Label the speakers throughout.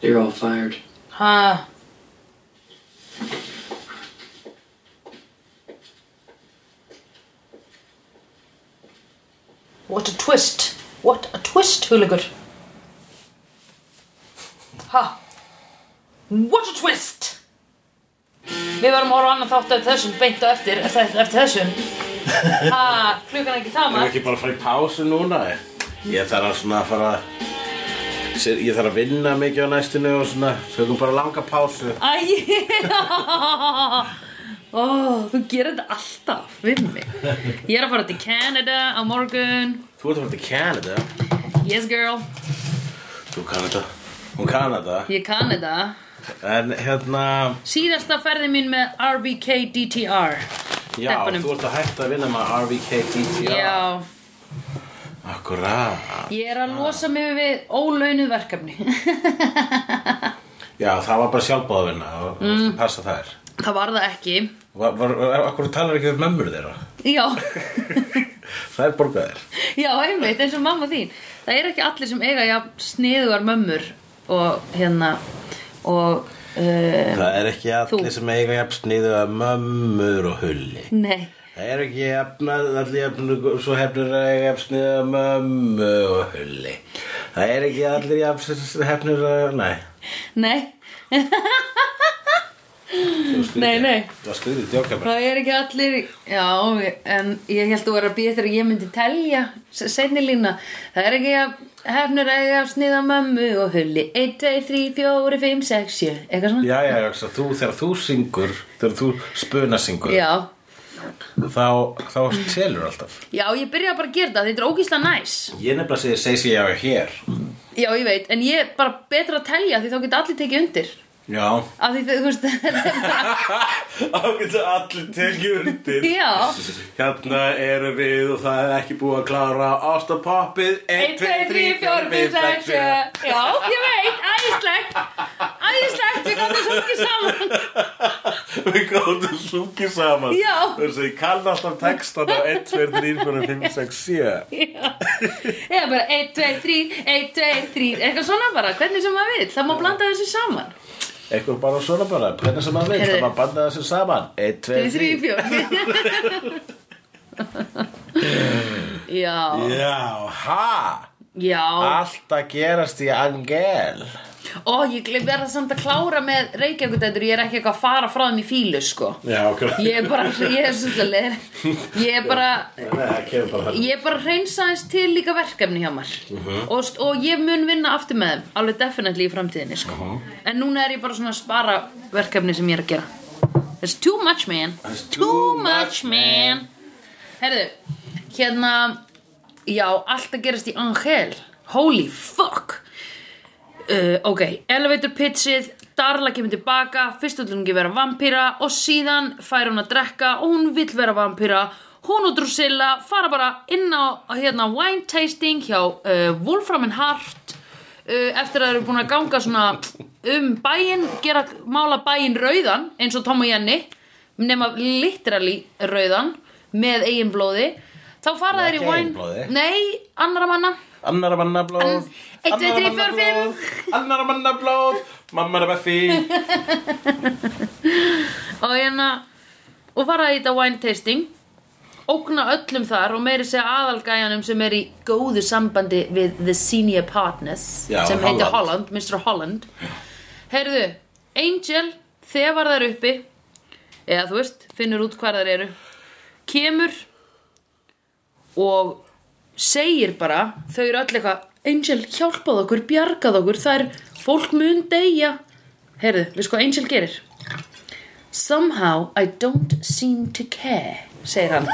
Speaker 1: You're all fired.
Speaker 2: Huh. What a twist. What a twist, Hooligur. Ha. What a twist. Við verðum að horfa á annan þátt af þessum beint á eftir, eftir, eftir þessum. Ha, klukkan ekki það
Speaker 3: Erum við
Speaker 2: maður.
Speaker 3: ekki bara að fara í pásu núna? Ég þarf að svona að fara Sér- Ég þarf að vinna mikið á næstinu og svona Tökum bara langa pásu
Speaker 2: Æ, ó, þú gerir þetta alltaf við mig. Ég er að fara til Canada á morgun.
Speaker 3: Þú ert að fara til Canada
Speaker 2: Yes girl,
Speaker 3: Þú Canada Hún Canada
Speaker 2: ég kann þetta.
Speaker 3: En hérna
Speaker 2: Síðasta ferði mín með RBK DTR.
Speaker 3: Já,
Speaker 2: Stelpunum.
Speaker 3: þú ert að hætta að vinna með RVK DTR
Speaker 2: Já,
Speaker 3: Akkurát
Speaker 2: ég er að losa mig við ólaunuð verkefni.
Speaker 3: Já, það var bara sjálfbóðvinna og mm. passa þær
Speaker 2: það var það ekki.
Speaker 3: var, var, var, Akkur talar ekki við mömmur þeirra
Speaker 2: Já,
Speaker 3: Það er borgaðir
Speaker 2: já, einmitt, eins og mamma þín. Það er ekki allir sem eiga, já, sniðugar mömmur og hérna, og... Uh,
Speaker 3: Það er ekki allir
Speaker 2: Þú.
Speaker 3: sem eiga jafn sniðu að mömmur og hulli
Speaker 2: nei,
Speaker 3: Það er ekki jafnað, allir jafnir, svo hefnir að eiga jafn sniðu að mömmu og hulli Það er ekki allir jafn hefnir að, nei
Speaker 2: nei,
Speaker 3: það var skrýtið.
Speaker 2: Nei, nei.
Speaker 3: Það var skriðið, djóka bara
Speaker 2: það er ekki allir, já, en ég held að vera að býja þegar ég myndi telja, segni lína, það er ekki að hefnur eiga að sniða mömmu og hulli 1, 2, 3, 4, 5, 6, 7, eitthvað svona.
Speaker 3: Já, já, já, svo þú, þegar þú syngur, þegar þú spuna syngur
Speaker 2: Já,
Speaker 3: Þá, þá telur alltaf
Speaker 2: já, ég byrjaði bara að gera það, þetta er ógíslega næs.
Speaker 3: Ég nefnilega segi, segi sér já hér
Speaker 2: Já, ég veit, en ég er bara betra að telja því þá geta allir tekið undir.
Speaker 3: Já
Speaker 2: Af því þau, þú veist, þetta er bara,
Speaker 3: Þá getur allir tekið undir
Speaker 2: já,
Speaker 3: Hérna erum við og það er ekki búið að klára ástapoppið
Speaker 2: 1, 2, 3, 4, 5, 6, 7, já, ég veit, æðislegt, æðislegt, við gáttum svo ekki saman.
Speaker 3: Við góðum súki saman
Speaker 2: Já.
Speaker 3: Þessi, ég kann alltaf textana 1, 2, 3, 4, 5, 6, 7
Speaker 2: Já. Eða bara 1, 2, 3, 1, 2, 3 Eitthvað svona bara, hvernig sem maður vil Það má blanda þessu saman
Speaker 3: Eitthvað bara svona bara, hvernig sem maður veit
Speaker 2: Heyrðu.
Speaker 3: Það maður banda þessu saman 1, 2,
Speaker 2: 3,
Speaker 3: 3
Speaker 2: 4 Já
Speaker 3: Já, ha
Speaker 2: Já
Speaker 3: Allt að gerast í Angel
Speaker 2: Ó, ég glem verða samt að klára með reykjagutætur Ég er ekki eitthvað að fara frá þeim í fílu, sko
Speaker 3: Já, ok
Speaker 2: Ég er bara, ég er svolítið Ég er bara
Speaker 3: Nei, það kemur bara hann
Speaker 2: Ég er bara að reynsa aðeins til líka verkefni hjá mér og, st- og ég mun vinna aftur með þeim Alveg definitely í framtíðinni sko. En núna er ég bara svona að spara verkefni sem ég er að gera That's too much man
Speaker 3: That's
Speaker 2: Too much man Herðu, hérna Já, allt að gerast í Angel Holy fuck uh, Ok, elevator pitchið Darla kemur tilbaka, fyrst vil hún ekki vera vampíra og síðan fær hún að drekka og hún vill vera vampíra hún og Drusilla fara bara inn á hérna wine tasting hjá uh, Wolfram and Heart uh, eftir að þeir eru búin að ganga svona um bæinn, gera mála bæinn rauðan eins og Tom og Jenny nema literally rauðan með eigin blóði þá fara þeir
Speaker 3: Nei,
Speaker 2: í
Speaker 3: ekki
Speaker 2: wine
Speaker 3: eigin blóði.
Speaker 2: nei, annara manna
Speaker 3: Annara manna blóð
Speaker 2: Ann- Eitt,
Speaker 3: annarra
Speaker 2: tvö, þrír,
Speaker 3: manna
Speaker 2: fjórir, fimm.
Speaker 3: blóð, Annara manna blóð Mamma er að beffi
Speaker 2: og hérna og fara í þetta wine tasting ógna öllum þar og meiri segja aðalgæjanum sem er í góðu sambandi við the senior partners
Speaker 3: Já,
Speaker 2: sem
Speaker 3: Holland.
Speaker 2: heitir Holland, Mr. Holland heyrðu, Angel þegar þær uppi eða þú veist, finnur út hvar þær eru kemur og segir bara þau eru öll eitthvað Angel, hjálpað okkur, bjargað okkur það er, fólk mun deyja heyrðu, við sko Angel gerir Somehow I don't seem to care, segir hann.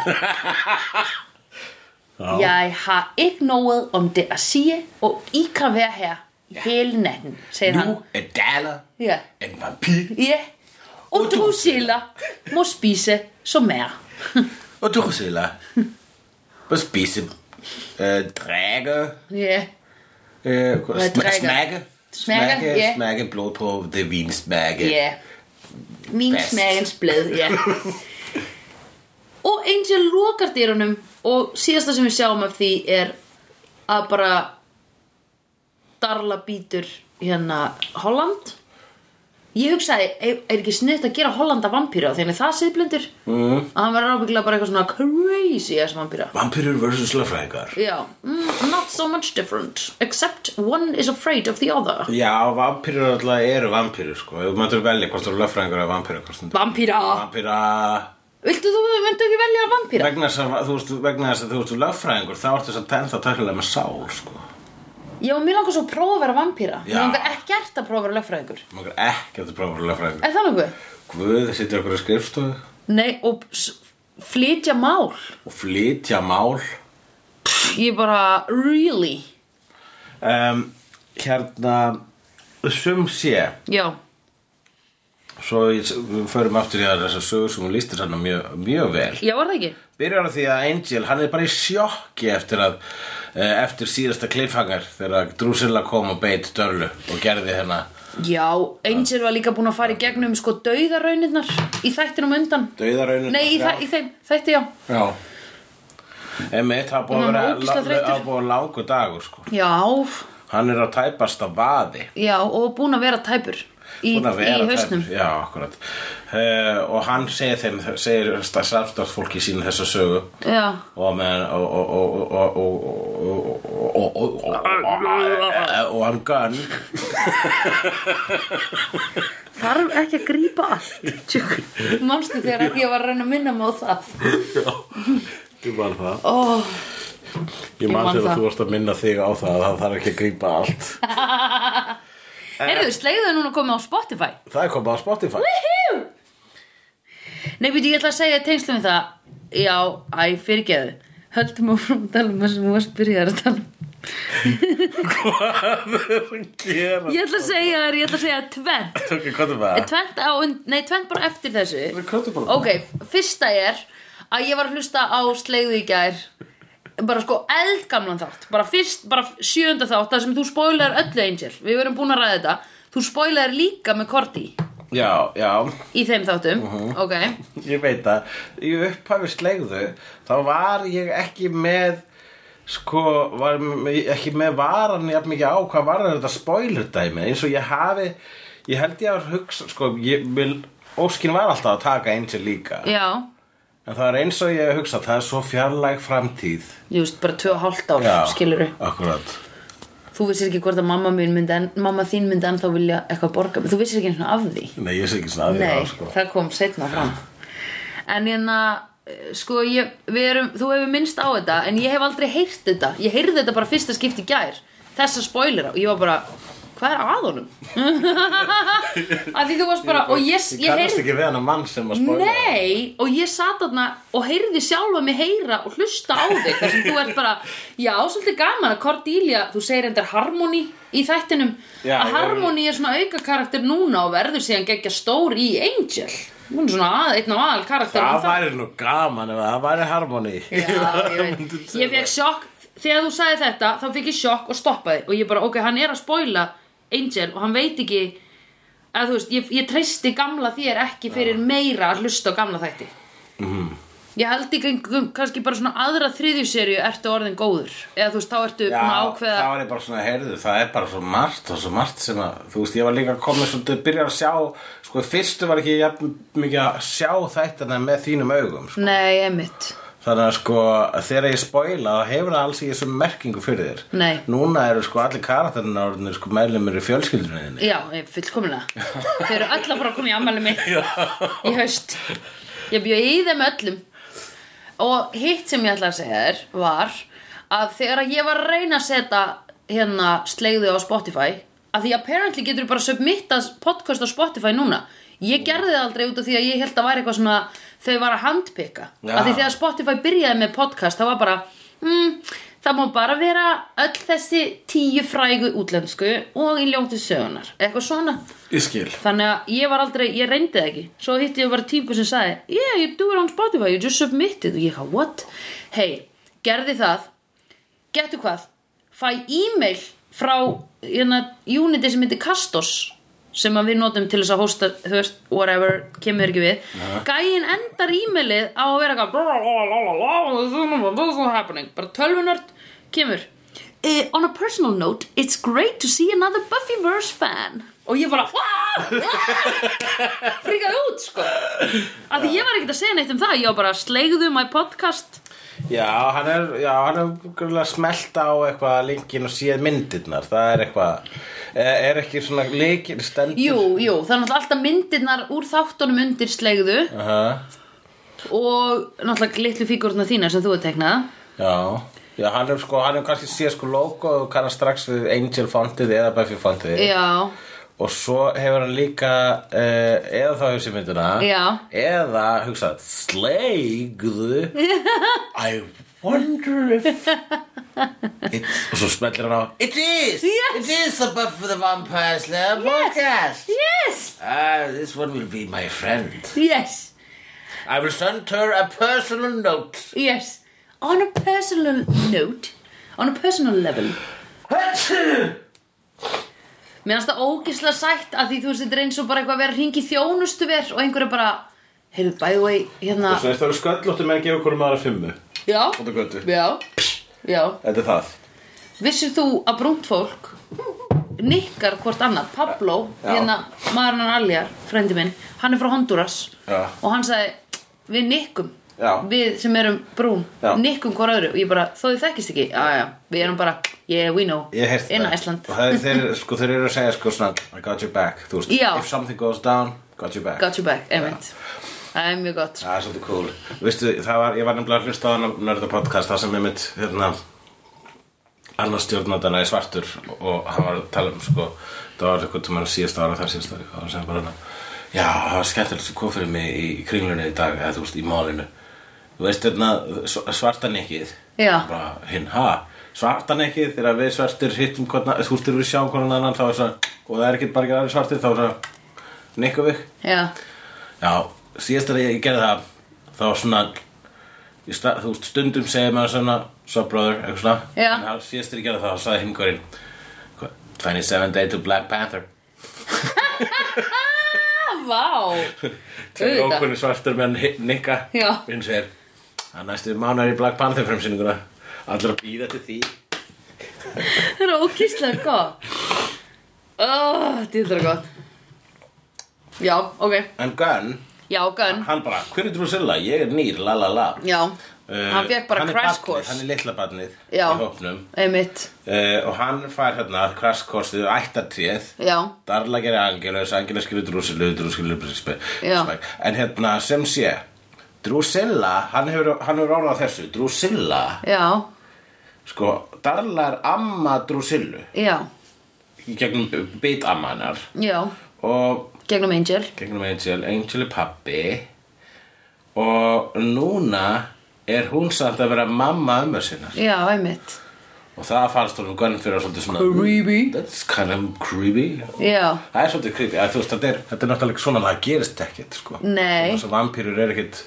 Speaker 2: Jeg har ikke noget om det at sige, og I kan være her hele natten, segir
Speaker 3: Nú
Speaker 2: hann.
Speaker 3: er Dala
Speaker 2: Ja.
Speaker 3: en vampýr
Speaker 2: Ja. Og Drusilla må spise som er.
Speaker 3: og Drusilla og spise uh, drække
Speaker 2: Ja.
Speaker 3: uh,
Speaker 2: Hvad
Speaker 3: sm-
Speaker 2: drikker?
Speaker 3: smække
Speaker 2: Smækker,
Speaker 3: smække,
Speaker 2: ja.
Speaker 3: smække blod på det vinsmække
Speaker 2: Ja. Mín
Speaker 3: Best.
Speaker 2: smagens blöð, já. og Angel lokar dýrunum og síðasta sem við sjáum af því er að bara Darla býtur hérna Holland ég hugsaði, er, er ekki sniðt að gera Hollanda vampíra þegar það siðblindur mm. að hann verður ábyggilega bara eitthvað svona crazy ass vampíra
Speaker 3: Vampirur versus löffræðingar
Speaker 2: já, mm, not so much different except one is afraid of the other
Speaker 3: Já, vampirur alltaf eru vampirur sko Þú mættur velja hvort þú eru löffræðingur eða vampirur hvort þú
Speaker 2: vampíra,
Speaker 3: Vampira
Speaker 2: viltu þú myndu ekki velja vampíra?
Speaker 3: Vegna þess að þú veist, vegna þess að þú veist þú löffræðingur þá ertu þess að tennta takkilega með sál sko
Speaker 2: já, mér langar svo að prófa að vera vampíra mér
Speaker 3: Já.
Speaker 2: langar ekkert að prófa að vera lögfræðingur
Speaker 3: Maður er ekki að þú prófa að vera löffræðingur
Speaker 2: er það nokkuð?
Speaker 3: Guð sittir okkur að skrifstofu
Speaker 2: nei, og s- flytja mál
Speaker 3: og flytja mál
Speaker 2: ég bara, really?
Speaker 3: um, Hérna Sum sé
Speaker 2: já,
Speaker 3: Svo ég- við förum aftur í að þessar sögur sem hún lístir hann mjög, mjög vel
Speaker 2: já, var það ekki?
Speaker 3: Byrjar á því að Angel, hann er bara í sjokki eftir að eh, eftir síðasta cliffhanger þegar Drusilla kom og beit Dörlu og gerði hennar
Speaker 2: Já, Angel var líka búin að fara í gegnum sko dauðarauninnar í þættinum undan
Speaker 3: dauðaraunin
Speaker 2: Nei, í, þa í þeim, þætti já
Speaker 3: Já Emmett, það er búið að
Speaker 2: Hann var
Speaker 3: vera
Speaker 2: ógeðslega
Speaker 3: la-
Speaker 2: þreyttur.
Speaker 3: það er búið að langu dagur sko
Speaker 2: Já,
Speaker 3: Hann er á tæpasta vaði
Speaker 2: já, og búin að vera tæpur í,
Speaker 3: Búinn að vera
Speaker 2: í hausnum
Speaker 3: tæpur, Já, akkurat uh, Og hann segir þeim, segir starfstarfsfólki sín þessa sögu
Speaker 2: Já,
Speaker 3: og menn og hann gunn
Speaker 2: þarf ekki að grípa allt tjúk. Manstu þegar ég var að reyna að minna mig á það
Speaker 3: Ég man það
Speaker 2: Ó,
Speaker 3: Ég man
Speaker 2: man
Speaker 3: þegar
Speaker 2: það.
Speaker 3: þú varst að minna þig á það að það þarf ekki að grípa allt
Speaker 2: Heyrðu, slegðu núna komið á Spotify
Speaker 3: Það er komið á Spotify
Speaker 2: Nei, veit, ég ætla að segja í tengslum við það Já, æ, fyrirgeðu Höldum áfram að tala um það sem þú varst byrjaðar að tala um
Speaker 3: Hvað er að gera?
Speaker 2: Ég ætla að segja þér, ég ætla að segja tvennt
Speaker 3: Ok, hvað er það?
Speaker 2: Tvent á, und- nei, tvent bara eftir þessu
Speaker 3: Hvað er það?
Speaker 2: Ok, fyrsta er að ég var að hlusta á slegðu í gær bara sko eldgamlan þátt bara fyrst, bara sjönda þátt þar sem þú spoilar öllu Angel við verum búin að ræða þetta þú spoilar líka með Korti
Speaker 3: Já, já
Speaker 2: í þeim þáttum ok,
Speaker 3: Ég veit að í upphafi slegðu þá var ég ekki með sko, var m- ekki með varan jafn mikið á hvað var þetta spoiler dæmi eins og ég hafi ég held ég að hugsa sko, ég vil Óskin var alltaf að taka eins og líka
Speaker 2: já
Speaker 3: En það er eins og ég hef hugsað, það er svo fjarlæg framtíð
Speaker 2: Þú veist, bara tvö og hálft ár, skilurðu
Speaker 3: Akkurat
Speaker 2: Þú vissir ekki hvort að mamma, mín myndi en, mamma þín myndi ennþá vilja eitthvað borga Þú vissir ekki einhvern af því
Speaker 3: Nei, ég sé ekki svona að því
Speaker 2: Nei,
Speaker 3: á, sko.
Speaker 2: það kom setna fram En hérna eh, sko, ég, við erum, þú hefur minnst á þetta en ég hef aldrei heyrt þetta ég heyrði þetta bara fyrsta skipti í gær þessa spoilera og ég var bara hvað er að honum? að því þú varst bara og ég,
Speaker 3: Ég
Speaker 2: ég
Speaker 3: kannast
Speaker 2: heyrði
Speaker 3: ekki við hann að mann sem að spoila
Speaker 2: Nei, og ég sat þarna og heyrði sjálfa mig heyra og hlusta á þig þar sem þú ert bara, já, svolítið gaman að Cordelia, þú segir endur Harmony í þættinum,
Speaker 3: Já,
Speaker 2: að
Speaker 3: ég-
Speaker 2: Harmony er svona auka karakter núna og verður síðan geggja stór í Angel hún er svona að, einn og aðal karakter
Speaker 3: Það væri nú gaman ef það væri harmoni
Speaker 2: Já, ég veit. Ég fekk sjokk Þegar þú sagði þetta, þá fekk ég sjokk og stoppaði Og ég bara, ok, hann er að spoila Angel og hann veit ekki að, þú veist, ég, ég treysti gamla þér ekki fyrir meira að hlusta á gamla þætti mm. Ég held ekki einhver- kannski bara svona aðra þriðju serju ertu orðin góður Eða þú veist, þá ertu búin að ákveða
Speaker 3: það var ég bara svona, heyrðu, það er bara svo margt og svo margt sem að, þú veist, ég var líka komin svona, þú byrjar að sjá, sko, í fyrstu var ekki jafn mikið að sjá þættina með þínum augum, sko.
Speaker 2: Nei, emitt
Speaker 3: Þannig að, sko, þegar ég spoila, þá hefur það alls í þessum merkingu fyrir þér.
Speaker 2: Nei.
Speaker 3: Núna eru, sko, allir karakterinn orðinir, sko, meðlumir í fjölskyldunni þinni.
Speaker 2: Já, ég er fullkominlega Þau eru öll að fara að koma í ammæli mitt Í haust Ég bjó í þeim öllum Og hitt sem ég ætla að segja þér var Að þegar að ég var að reyna að setja Hérna slegðu á Spotify Að því apparently getur bara submittað podcast á Spotify núna Ég gerði það aldrei út af því að ég held að væri eitthvað svona Þau var að handpika
Speaker 3: Já.
Speaker 2: Að því þegar Spotify byrjaði með podcast Það var bara mm, Það má bara vera öll þessi tíu frægu útlensku Og í ljóttu sögunar Eitthvað svona
Speaker 3: Ég skil.
Speaker 2: Þannig að ég var aldrei, ég reyndi það ekki Svo hitti ég bara típu sem sagði Yeah, you do it on Spotify, you just submitted Og ég hvað, what? Hey, gerði það Getu hvað Fæ e-mail frá hérna, Unity sem heitir Kastos Sem að við notum til þess að hosta þú veist, Whatever, kemur ekki við Gæin endar e-mailið á að vera eitthvað, "Bla, bla, bla, bla, bla, This is happening Bara tölvunart kemur uh, on a personal note it's great to see another Buffyverse fan og ég bara "Wow!" fríkaði út sko af því ég var ekkert að segja neitt um það ég var bara sleigðu my podcast
Speaker 3: Já, hann er, já, hann er grunlega smelt á eitthvað linkin og séð myndirnar, það er eitthvað, er er ekki svona líkin stendur?
Speaker 2: jú, jú, það er náttúrulega alltaf myndirnar úr þáttunum undir sleigðu
Speaker 3: Aha,
Speaker 2: og náttúrulega litlu fígurna þína sem þú er teknað
Speaker 3: já, já, hann er sko, hann er kannski séð sko logo og kannar strax við Angel fontið eða Buffy fontið
Speaker 2: já,
Speaker 3: og svo hefur hann líka, uh, eða þá hefur sér myndina,
Speaker 2: Já.
Speaker 3: eða hugsað, sleigðu, I wonder if, it, og svo smellir hann á, it is,
Speaker 2: Yes.
Speaker 3: it is the Buffy the Vampire Slayer podcast.
Speaker 2: yes,
Speaker 3: Ah, this one will be my friend.
Speaker 2: yes
Speaker 3: I will send her a personal note.
Speaker 2: Yes, on a personal note On a personal level Mér finnst það ógislega sætt að því þú veist þetta er eins og bara eitthvað að vera hringi þjónustu ver og einhverju bara Heyrðu, by the way, hérna
Speaker 3: Svo þetta eru sköllóttu menn gefa hverjum aðra fimmu.
Speaker 2: Já,
Speaker 3: Út á götu.
Speaker 2: já, já
Speaker 3: Þetta er það.
Speaker 2: Vissir þú að brúnt fólk nikkar hvort annað Pablo,
Speaker 3: Já.
Speaker 2: hérna maðurinn hann Aljar, frendi minn hann er frá Honduras
Speaker 3: Já.
Speaker 2: og hann sagði, við nikkum
Speaker 3: Já.
Speaker 2: við sem erum brún,
Speaker 3: Já.
Speaker 2: nikkum hvort öðru og ég bara, þó þið þekkist ekki, já já við erum bara, yeah we know,
Speaker 3: Ég heyrst
Speaker 2: in Iceland
Speaker 3: Og það er þeir, sko, þeir eru að segja sko svona, I got your back. Þú veist,
Speaker 2: Já.
Speaker 3: if something goes down, got your back.
Speaker 2: got you back, einmitt það er mjög gott,
Speaker 3: Það er svolítið cool. Vistu, það var, ég var nefnilega að hlusta á hann nörða podcast, það sem ég mitt, hérna, annar stjórnandana í svartur og hann var að tala um, sko, það var eitthvað tímann síðasta ára þar síðasta ára, og hann segði bara hann já, það var skemmtilegt sem kom fyrir mig í, í kringlunni í dag, eða þú veist, í málinu. Þú veist, hérna, sv- svartanekkið,
Speaker 2: Já.
Speaker 3: bara, hinn, ha, svartanekkið, þegar við svartur hittum, hvorna, þú veist, þegar við sjáum hvernig annan, þá er svona, og það er ekki bara ekki aðri svartir, þá er svona, nikkum við.
Speaker 2: já
Speaker 3: Já, síðast að ég gerði það þá var svona ég stað, þú veist, stundum segir maður svona so brother, eitthvað svona
Speaker 2: Já.
Speaker 3: en þá síðast að ég gerði það, þá sagði hingurinn 27 day to Black Panther
Speaker 2: ah, vá,
Speaker 3: Tveir
Speaker 2: Auðvitað.
Speaker 3: ókunni svartur menn hi- nikka
Speaker 2: Já.
Speaker 3: hinn segir, að næstu mánar í Black Panther fremsýninguna allir að býða til því
Speaker 2: það er ókíslega gott oh, þetta er gott já, ok
Speaker 3: en Gunn,
Speaker 2: já, gönn,
Speaker 3: hann bara, hver er Drusilla? Ég er nýr, la la la
Speaker 2: já
Speaker 3: Eh,
Speaker 2: hann fekk bara
Speaker 3: er
Speaker 2: crash
Speaker 3: barnið,
Speaker 2: course
Speaker 3: Hann er litla barnið
Speaker 2: Já.
Speaker 3: í hópnum
Speaker 2: einmitt,
Speaker 3: uh, og hann fær hérna crash course ættartréð
Speaker 2: já
Speaker 3: Darla gerir Angelus, Angelus gerir Drusilla, Drusilla gerir Spike.
Speaker 2: Já.
Speaker 3: Spike. En hérna, sem sé, Drusilla, hann hefur, hann hefur ánað þessu, Drusilla,
Speaker 2: Já,
Speaker 3: sko, Darla er amma Drusillu
Speaker 2: já,
Speaker 3: í gegnum bitamma hennar
Speaker 2: já
Speaker 3: og
Speaker 2: Gegnum Angel
Speaker 3: gegnum Angel, Angel er pappi og núna er hún samt að vera mamma ömmu sinnar
Speaker 2: Já, einmitt
Speaker 3: og það fannst hún gönn fyrir svolítið svona
Speaker 2: Creepy.
Speaker 3: That's kind of creepy
Speaker 2: Já,
Speaker 3: Það er svolítið creepy, að, þú veist, þetta er, þetta er náttúrulega svona að það gerist ekkit, sko.
Speaker 2: Nei.
Speaker 3: Þess að vampýrur er ekkit...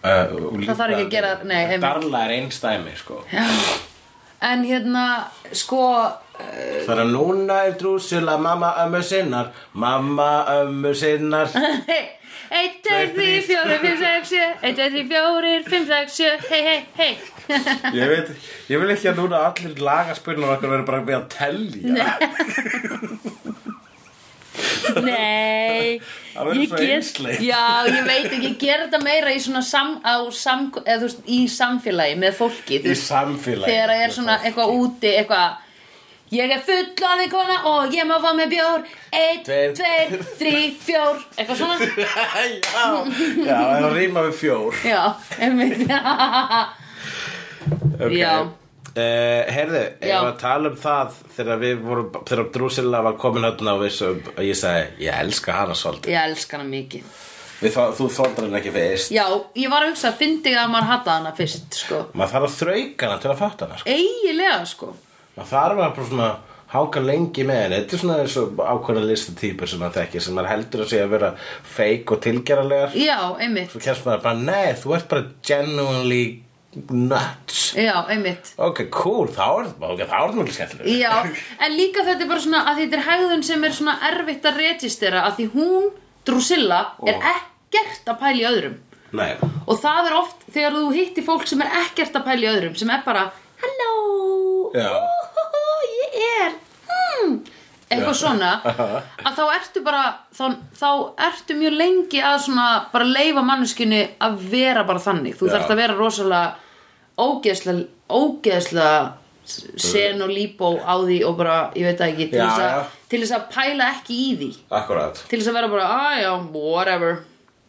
Speaker 3: Uh,
Speaker 2: Það þarf ekki að gera- nei, einmitt.
Speaker 3: Darla er einstæmi, sko.
Speaker 2: en hérna, sko
Speaker 3: Það er að núna er drúsula mamma ömmu sinnar, mamma ömmu sinnar.
Speaker 2: 1, 2, 3, 4, 5, 6, 7 1, 2, 3, 4, 5, 6, 7 Hei, hei, hei
Speaker 3: Ég veit, ég vil ekki að núna allir lagaspunnar okkar verður bara með að telja.
Speaker 2: Nei
Speaker 3: Það verður
Speaker 2: Ég
Speaker 3: svo
Speaker 2: get-
Speaker 3: einsleitt.
Speaker 2: Já, ég veit ekki, ég ger þetta meira í svona sam, á, sam, eða, þú veist, í samfélagi með fólki þú
Speaker 3: Í
Speaker 2: veist,
Speaker 3: samfélagi.
Speaker 2: Þegar það er svona eitthvað úti, eitthvað Ég er fullorðin kona og ég má fá með bjór 1,
Speaker 3: Tveir.
Speaker 2: 2, 3, 4 Eitthvað svona
Speaker 3: já, já, það rýma við fjór.
Speaker 2: Já, einmitt
Speaker 3: okay.
Speaker 2: Já.
Speaker 3: Uh, heyrðu, ég
Speaker 2: Já.
Speaker 3: var að tala um það þegar við vorum, þegar Drusilla var komin hérna og við svo, og ég sagði ég elska hana svolítið
Speaker 2: Ég elska hana mikið
Speaker 3: við, þá- Þú þóndar hana ekki fyrst
Speaker 2: Já, ég var að hugsa að fyndi að maður hata hana fyrst sko.
Speaker 3: Maður þarf að þrauka hana til að fatta hana sko.
Speaker 2: Eigilega sko
Speaker 3: Maður þarf að bara svona háka lengi með henni Þetta er svona eins og ákveðna listatýpur sem maður þekki sem maður heldur að segja að vera feik og tilgeralegar
Speaker 2: Já, einmitt
Speaker 3: Svo kemst maður bara, nei, þú ert bara genuinely nuts
Speaker 2: Já, einmitt
Speaker 3: Ok, cool, þá er okay, þá er það mjög skemmtilega
Speaker 2: Já, en líka þetta er bara svona að þetta er hegðun sem er svona erfitt að registera að því hún, Drusilla, er
Speaker 3: Ó.
Speaker 2: ekkert að pæla í öðrum
Speaker 3: Nei,
Speaker 2: og það er oft þegar þú hittir fólk sem er ekkert að pæla í öðrum sem er bara, hello
Speaker 3: Já.
Speaker 2: "Úhúhú, ég er mm, eitthvað svona að þá ertu bara þá, þá ertu mjög lengi að svona bara leifa manneskinni að vera bara þannig þú
Speaker 3: Já.
Speaker 2: þarft að vera rosalega ógeðslega ógeðslega sen og líbó á því og bara, ég veit það ekki til,
Speaker 3: Já,
Speaker 2: þess
Speaker 3: já.
Speaker 2: að, til þess að pæla ekki í því
Speaker 3: akkurat
Speaker 2: til þess að vera bara, að já, whatever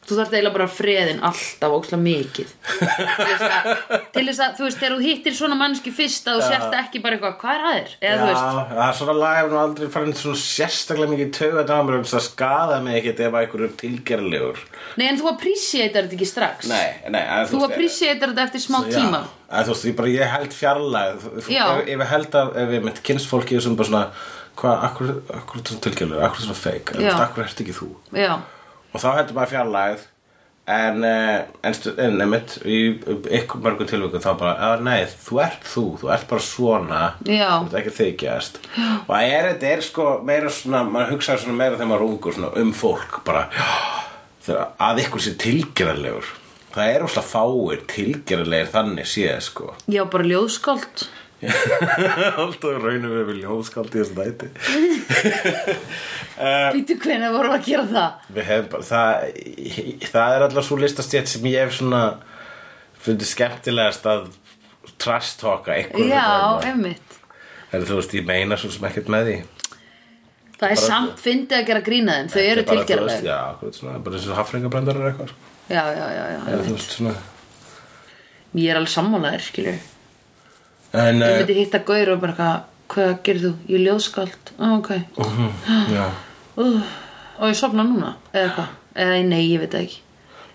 Speaker 2: þú þarft eiginlega bara freðin alltaf óksla mikið til þess, að, til þess að, þú veist, þegar þú hittir svona mannski fyrst að þú sért ekki bara eitthvað, hvað er aðeir? eða þú veist,
Speaker 3: Já, það er svona lag hefur nú aldrei farin svona sérstaklega mikið tauga dámur um þess að skada mig ekkert ef einhverjum er tilgerlegur
Speaker 2: nei en þú appreciatar þetta ekki strax
Speaker 3: Nei, nei, en
Speaker 2: þú
Speaker 3: veist,
Speaker 2: appreciatar þetta eftir smá tíma
Speaker 3: Já, að þú veist, ég bara, ég held fjarlæð Ef,
Speaker 2: Já.
Speaker 3: ef ég held að, ef ég mynd kynnsfólki sem bara svona, hvað, akkur, akkur er svona tilgjörlega, akkur er svona feik
Speaker 2: Já.
Speaker 3: akkur ert ekki þú
Speaker 2: já,
Speaker 3: og þá heldur maður fjarlæð en, eh, en, stu- en nefnt í ykkur mörgum tilvíkum þá bara að nei, þú ert þú, þú ert bara svona
Speaker 2: Já.
Speaker 3: þú ert ekki að þykjast og það er, þetta er sko meira svona maður hugsaði svona meira þegar maður er ungur svona, um fólk bara "Já, þegar að ykkur sé tilgerðarlegur það er óslega fáir tilgerðarlegir þannig séð sko
Speaker 2: já, bara ljóðskáld
Speaker 3: alltaf raunum við við ljóðskáld í þessu dæti Eh.
Speaker 2: býtu hvernig voru að gera það
Speaker 3: Við hefum bara, það, það er allavega svo listastjétt sem ég hef svona fundið skemmtilegast að trash talka einhverjum
Speaker 2: já,
Speaker 3: hérna.
Speaker 2: einmitt
Speaker 3: En þú veist, ég meina svo sem ekkert með því
Speaker 2: það er samt fyndið að gera grína þeim þau eru
Speaker 3: Bara, þú veist,
Speaker 2: tilgerðlega
Speaker 3: Já, hvað, svona, bara eins og hafringabrandarar eða eitthvað sko.
Speaker 2: já, já, já, já,
Speaker 3: Eða þú veist, svona
Speaker 2: ég er alveg sammálaður, skilur
Speaker 3: En,
Speaker 2: Ég
Speaker 3: eh,
Speaker 2: myndi hitta gaur og bara eitthvað, hvað gerir þú? Ég er ljóðskáld. Á, ok.
Speaker 3: mhm, já
Speaker 2: Uh, og ég sopna núna, eða hvað? Eða nei, ég veit það ekki.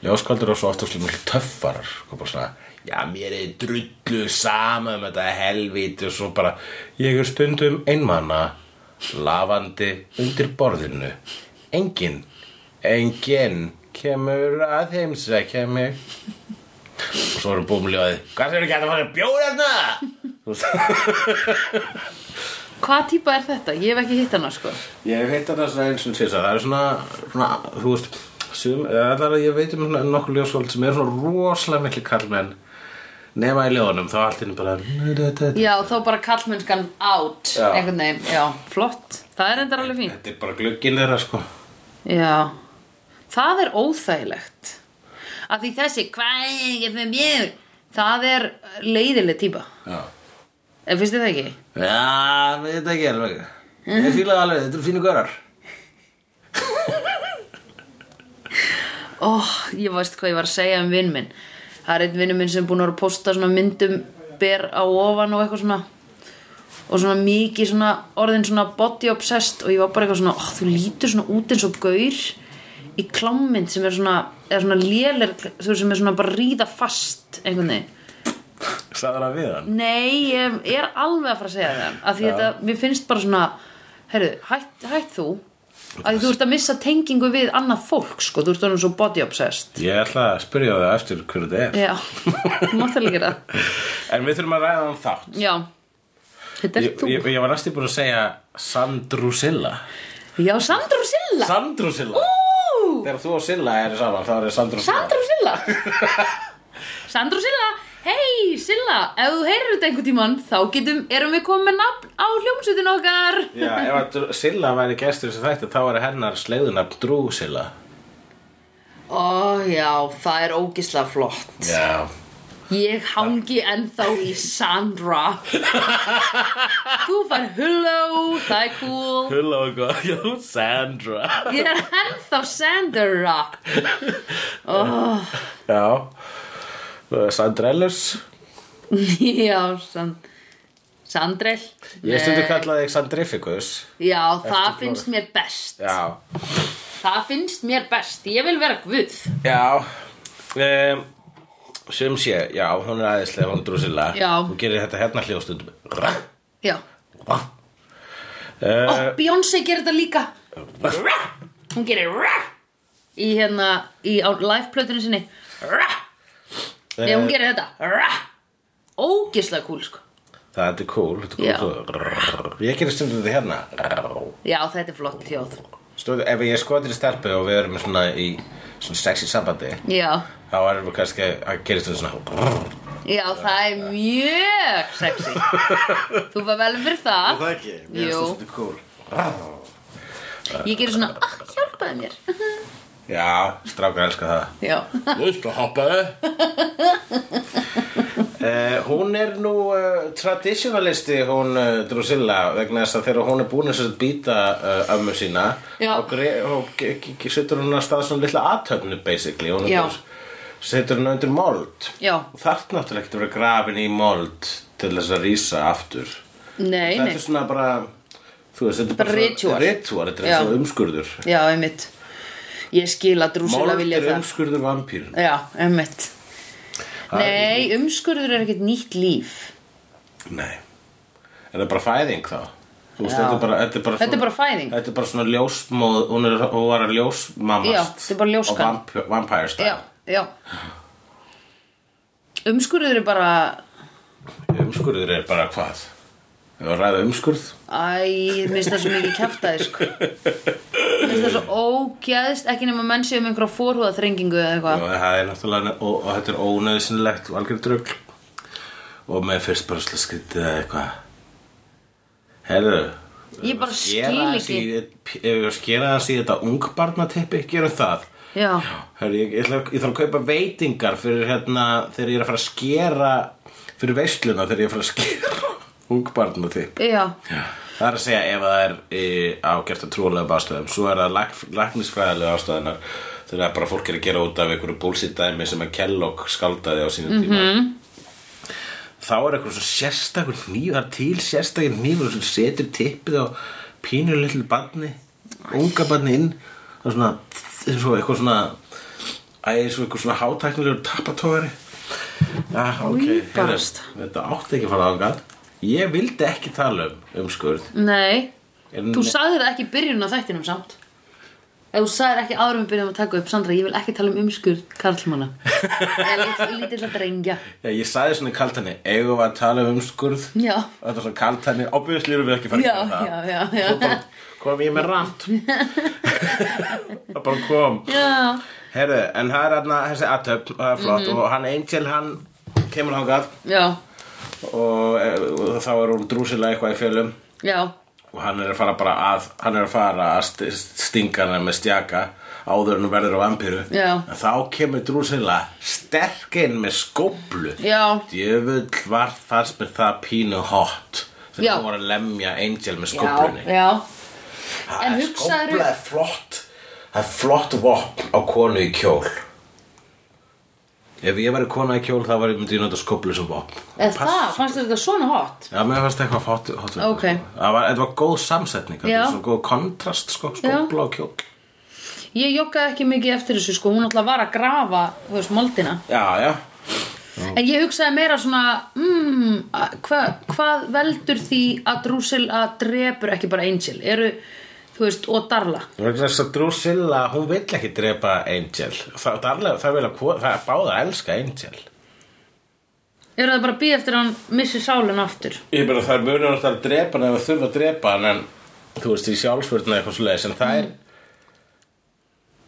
Speaker 3: Ljóskvöldur er svo ofta slik mjög töffarar sko, bara svona, já mér er drullu sama um þetta helvíti og svo bara, ég er stundum einmana, lafandi undir borðinu engin, engin kemur að heimsækja mig og svo erum búum ljóði hvað sem eru gæti að fara að bjóða hérna Þú veist,
Speaker 2: Hvaða típa er þetta? Ég hef ekki hitt hana, sko.
Speaker 3: ég hef heitt þetta svona eins og tvisar það er svona, svona þú veist sum, eða það er að ég veit um svona nokkuð ljóskvöld sem er svona rosalega miklu kallmenn nema í ljóðunum þá allt inni bara þetta
Speaker 2: Já, þá bara kallmennskan out,
Speaker 3: Já.
Speaker 2: einhvern veginn. Já, flott. Það er endar alveg fín.
Speaker 3: er bara glugginn þeirra sko
Speaker 2: Já. Það er óþægilegt. Af því þessi, hvað er ég fyrir mjög? Það er leiðileg típa.
Speaker 3: já,
Speaker 2: En finnst þið það ekki?
Speaker 3: já við þetta ekki alveg ég fílaði alveg, þetta eru fínu görar
Speaker 2: Ó, ég veist hvað ég var að segja um vinn minn Það er einn vinnur minn sem er búinn að vera að posta svona myndum ber á ofan og eitthvað svona og svona mikið svona orðin svona body obsessed og ég var bara eitthvað svona, ó, þú lítur svona út eins og gaur í klámynd sem er svona eða svona lélir, þú veist, sem er svona bara að ríða fast einhvern veginn
Speaker 3: sagði það við hann
Speaker 2: Nei, ég er alveg að fara að segja það að því þetta, mér finnst bara svona herru, hætt, hætt þú að því þú ert að missa tengingu við annað fólk, sko, þú ert orðin svo body obsessed
Speaker 3: ég ætla að spyrja það eftir hverju þetta er
Speaker 2: Já, máttalega gera
Speaker 3: en við þurfum að ræða um þátt
Speaker 2: Já, þetta er
Speaker 3: ég,
Speaker 2: þú
Speaker 3: ég, ég var næstu búin að segja Sandrusilla
Speaker 2: Já, Sandra og Silla
Speaker 3: Sandrusilla
Speaker 2: Ú,
Speaker 3: þegar þú og Silla eru saman þá er Sandrusilla
Speaker 2: Sandra og Silla Sandra og Silla Hei, Silla, ef þú heyrir þetta einhvern tímann þá getum, erum við komin með nafn á hljómsveitin okkar
Speaker 3: Já, ef að Dr- Silla væri gestur sem þetta þá er hennar sleiðunafn Drúsilla
Speaker 2: Ó, já, það er ógisla flott
Speaker 3: Já
Speaker 2: Ég hangi ennþá í Sandra Þú fær hello, það er cool
Speaker 3: Hulla og góð, já, Sandra
Speaker 2: Ég er ennþá Sandra Ó,
Speaker 3: Já Sandrellus
Speaker 2: Já, sand, sandrell
Speaker 3: Ég stundu
Speaker 2: Nei.
Speaker 3: kallaði þig Sandrificus
Speaker 2: Já, það
Speaker 3: Eftir
Speaker 2: finnst mér best
Speaker 3: Já
Speaker 2: Það finnst mér best, ég vil vera guð
Speaker 3: Já um, Sum sé, já, hún er aðeinslega, hún er Drúsilla
Speaker 2: Já.
Speaker 3: Hún gerir þetta hérna hljóðstundum
Speaker 2: Já,
Speaker 3: uh,
Speaker 2: og
Speaker 3: Eh.
Speaker 2: Beyoncé gerir þetta líka Hún gerir rah Í hérna, í á liveplötunni sinni Rah,
Speaker 3: eh,
Speaker 2: þegar hún gerir þetta Rah, ógislega kúl sko
Speaker 3: Það er cool, þetta
Speaker 2: Já.
Speaker 3: er cool svo- Ég gerir stundum þetta hérna
Speaker 2: Já, þetta er flott þjóð
Speaker 3: Stóð, ef ég skotir í stelpu og við erum svona í svona sexy sambandi
Speaker 2: Já,
Speaker 3: þá erum við kannski að gera stundum svona
Speaker 2: Já, það er mjög sexy Þú var vel fyrir það
Speaker 3: Það er ekki, mér
Speaker 2: Jú.
Speaker 3: finnst það svolítið cool
Speaker 2: Ég gerir svona, ah, hjálpaði mér
Speaker 3: Já, strákar elska það
Speaker 2: Já,
Speaker 3: Þú veist að hoppa eh? þau Eh, Hún er nú uh, traditionalisti hún uh, Drusilla vegna þess að þegar hún er búin að sérst býta uh, ömmu sína
Speaker 2: Já.
Speaker 3: og, gre- og ge- ge- ge- setur hún að stað svona litla aðtöfnu basically hún er
Speaker 2: Já.
Speaker 3: bara- setur hún undir mold
Speaker 2: Já.
Speaker 3: og þarf náttúrulega ekkert að vera grafin í mold til þess að rísa aftur
Speaker 2: nei,
Speaker 3: þetta
Speaker 2: nei
Speaker 3: er svona bara þú veist, þetta er
Speaker 2: Bara
Speaker 3: bara
Speaker 2: ritual.
Speaker 3: ritual þetta er
Speaker 2: Já.
Speaker 3: eins og umskurður
Speaker 2: Já, einmitt Ég skil að drúsula
Speaker 3: mold
Speaker 2: vilja
Speaker 3: er
Speaker 2: það
Speaker 3: umskurður vampýr
Speaker 2: Já, einmitt
Speaker 3: Það er
Speaker 2: Nei, umskurður er ekkert nýtt líf
Speaker 3: Nei Er það bara fæðing þá? Þú Veist,
Speaker 2: Já.
Speaker 3: þetta, er bara, þetta, er bara
Speaker 2: Þetta er bara fæðing.
Speaker 3: Þetta er bara svona ljósmóð Hún, er, hún var að ljósmamast
Speaker 2: Já, þetta er bara ljóskan.
Speaker 3: Og vamp, vampire style
Speaker 2: Já, já Umskurður er bara
Speaker 3: Umskurður er bara hvað? Við varum að ræða umskurð
Speaker 2: Æ, mér finnst það svo mikið kjaftaði sko Mér finnst það svo ógeðst Ekki nema menn séu um einhverja fórhúða þrengingu eða
Speaker 3: og
Speaker 2: eitthvað
Speaker 3: það er náttúrulega og, og þetta er ónöðsynlegt og algjör drugl og með fyrst bara slið skrítið eða eitthvað Herðu
Speaker 2: Ég bara
Speaker 3: skera
Speaker 2: skil
Speaker 3: aðeins
Speaker 2: ekki.
Speaker 3: í- Ef við skera aðeins í þetta ungbarnatippi gerum það
Speaker 2: Já,
Speaker 3: Herri, ég, ég, ætla, ég þarf að kaupa veitingar fyrir hérna þegar ég er að fara að skera fyrir veisluna þegar ég er að fara að skera ungbarn og þig
Speaker 2: já,
Speaker 3: Það er að segja ef það er e, ágert að trúlega ástöðum svo er það lak, laknisfræðilega ástöðunar þegar bara fólk er að gera út af einhverju búlsýtt dæmi sem að Kellogg skaldaði á sínum tíma þá er eitthvað svo sérstakur hníf það er til sérstakur hnífur sem setur tippið á pínu litlu barni unga barni inn og svona, eins og eitthvað svona æ, eins og eitthvað svona hátæknilegur tappatogari ah, ok, heyrðu,
Speaker 2: Úlparast.
Speaker 3: þetta átti ekki að fara ángað ég vildi ekki tala um umskurð
Speaker 2: nei
Speaker 3: en
Speaker 2: Þú sagðir það ekki í byrjun á þættinum samt Ef þú sagðir ekki árum við byrjum að taka upp Sandra, ég vil ekki tala um umskurð karlmanna Eða lit- lítilla drengja
Speaker 3: já, ég sagði svona kalt henni eigum við að tala um umskurð
Speaker 2: Já.
Speaker 3: og þetta var svona kalt henni, obviously erum við ekki fara að
Speaker 2: Já,
Speaker 3: gera það
Speaker 2: já, já, já.
Speaker 3: Svo bara kom ég með rant það bara kom
Speaker 2: Já,
Speaker 3: Herðu, en það er hérna þessi aðtöp, það er flott
Speaker 2: Mhm.
Speaker 3: og hann Angel, hann kemur hangað
Speaker 2: já,
Speaker 3: og, e, og þá er hún drúsilega eitthvað í fjölum
Speaker 2: já
Speaker 3: og hann er að fara bara að, hann er að fara að st- stinga hana með stjaka áður en hún verður á vampíru
Speaker 2: Já.
Speaker 3: en þá kemur drúsilega sterk inn með skóplu
Speaker 2: Já.
Speaker 3: djöfull var þar spyr það pínu hot
Speaker 2: Já.
Speaker 3: þegar hún var að lemja Angel með
Speaker 2: Já,
Speaker 3: skóplunni
Speaker 2: já,
Speaker 3: Það
Speaker 2: En
Speaker 3: er
Speaker 2: hugsaðirðu-
Speaker 3: skópla er flott Það er flott vopn á konu í kjól Ef ég væri kona í kjól þá var ég myndi ég nota skóplu sem vopn
Speaker 2: eða
Speaker 3: sko.
Speaker 2: það, fannst þetta svona hot
Speaker 3: Já, mér fannst eitthvað hot, hot við
Speaker 2: Ok.
Speaker 3: þetta. Það var, þetta var góð samsetning Þetta
Speaker 2: Já.
Speaker 3: var svo góð kontrast sko, skópla og kjól
Speaker 2: Ég joggaði ekki mikið eftir þessu sko, hún alltaf var að grafa, þú veist, moldina
Speaker 3: Já, já
Speaker 2: En ég hugsaði meira svona, mm, að- hva, hvað veldur því að Drúsil að drepur ekki bara Angel? Eru, þú veist, og Darla?
Speaker 3: Vegna þess að Drusilla, hún vill ekki drepa Angel Það, darlega, það, vil að, ko- það er báða að elska Angel
Speaker 2: Eru það bara að býða eftir að hann missi sálinn aftur?
Speaker 3: Ég meina það er munur alltaf að drepa hann eða þurfa að drepa hann en þú veist í sjálfsvörðna eitthvað svo leiðis en það er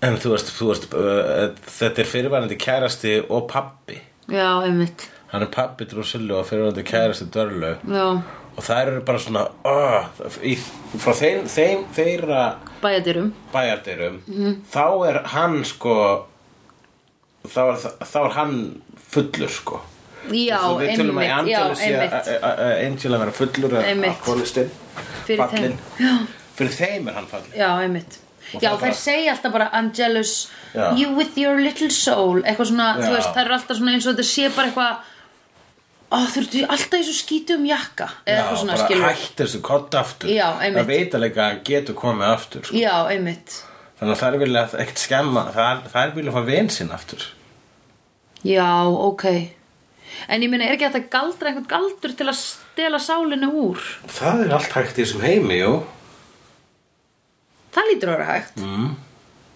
Speaker 3: en þú veist, þú veist uh, þetta er fyrirværandi kærasti og pabbi
Speaker 2: Já, einmitt.
Speaker 3: hann er pabbi Drusillu og fyrirværandi kærasti Dörlu
Speaker 2: Já,
Speaker 3: og það eru bara svona uh, í, frá þeim, þeim þeirra
Speaker 2: bæjadýrum.
Speaker 3: bæjardyrum þá er hann sko þá er, þá er hann fullur sko
Speaker 2: Já,
Speaker 3: Þú veist, við tölum um að
Speaker 2: einmitt, já,
Speaker 3: Angela sé eh, að-
Speaker 2: einmitt.
Speaker 3: að- að- að Angela vera fullur að- að
Speaker 2: Einmitt.
Speaker 3: konistinn
Speaker 2: Fyrir þeim.
Speaker 3: fyrir þeim er hann fallin
Speaker 2: Já, einmitt.
Speaker 3: Og
Speaker 2: Já,
Speaker 3: það bara-
Speaker 2: þær segja alltaf bara I'm jealous,
Speaker 3: Já.
Speaker 2: you with your little soul, eitthvað svona, þú
Speaker 3: Já.
Speaker 2: veist, þær eru alltaf svona eins og þetta sé bara eitthvað, ó, þurftu alltaf í svo skítu um jakka, eða eitthvað svona,
Speaker 3: bara
Speaker 2: skilur.
Speaker 3: hætt þessu kott aftur
Speaker 2: Já, einmitt.
Speaker 3: það veit alveg að hann getur komið aftur sko.
Speaker 2: Já, einmitt.
Speaker 3: þannig að þær vilja ekkert skemma þær, þær vilja fá vin sinn aftur
Speaker 2: Já, ok. En ég meina, er ekki hægt að galdra einhvern galdur til að stela sálinu úr?
Speaker 3: það er allt hægt í þessum heimi jú.
Speaker 2: Það lítur að vera hægt. Mm.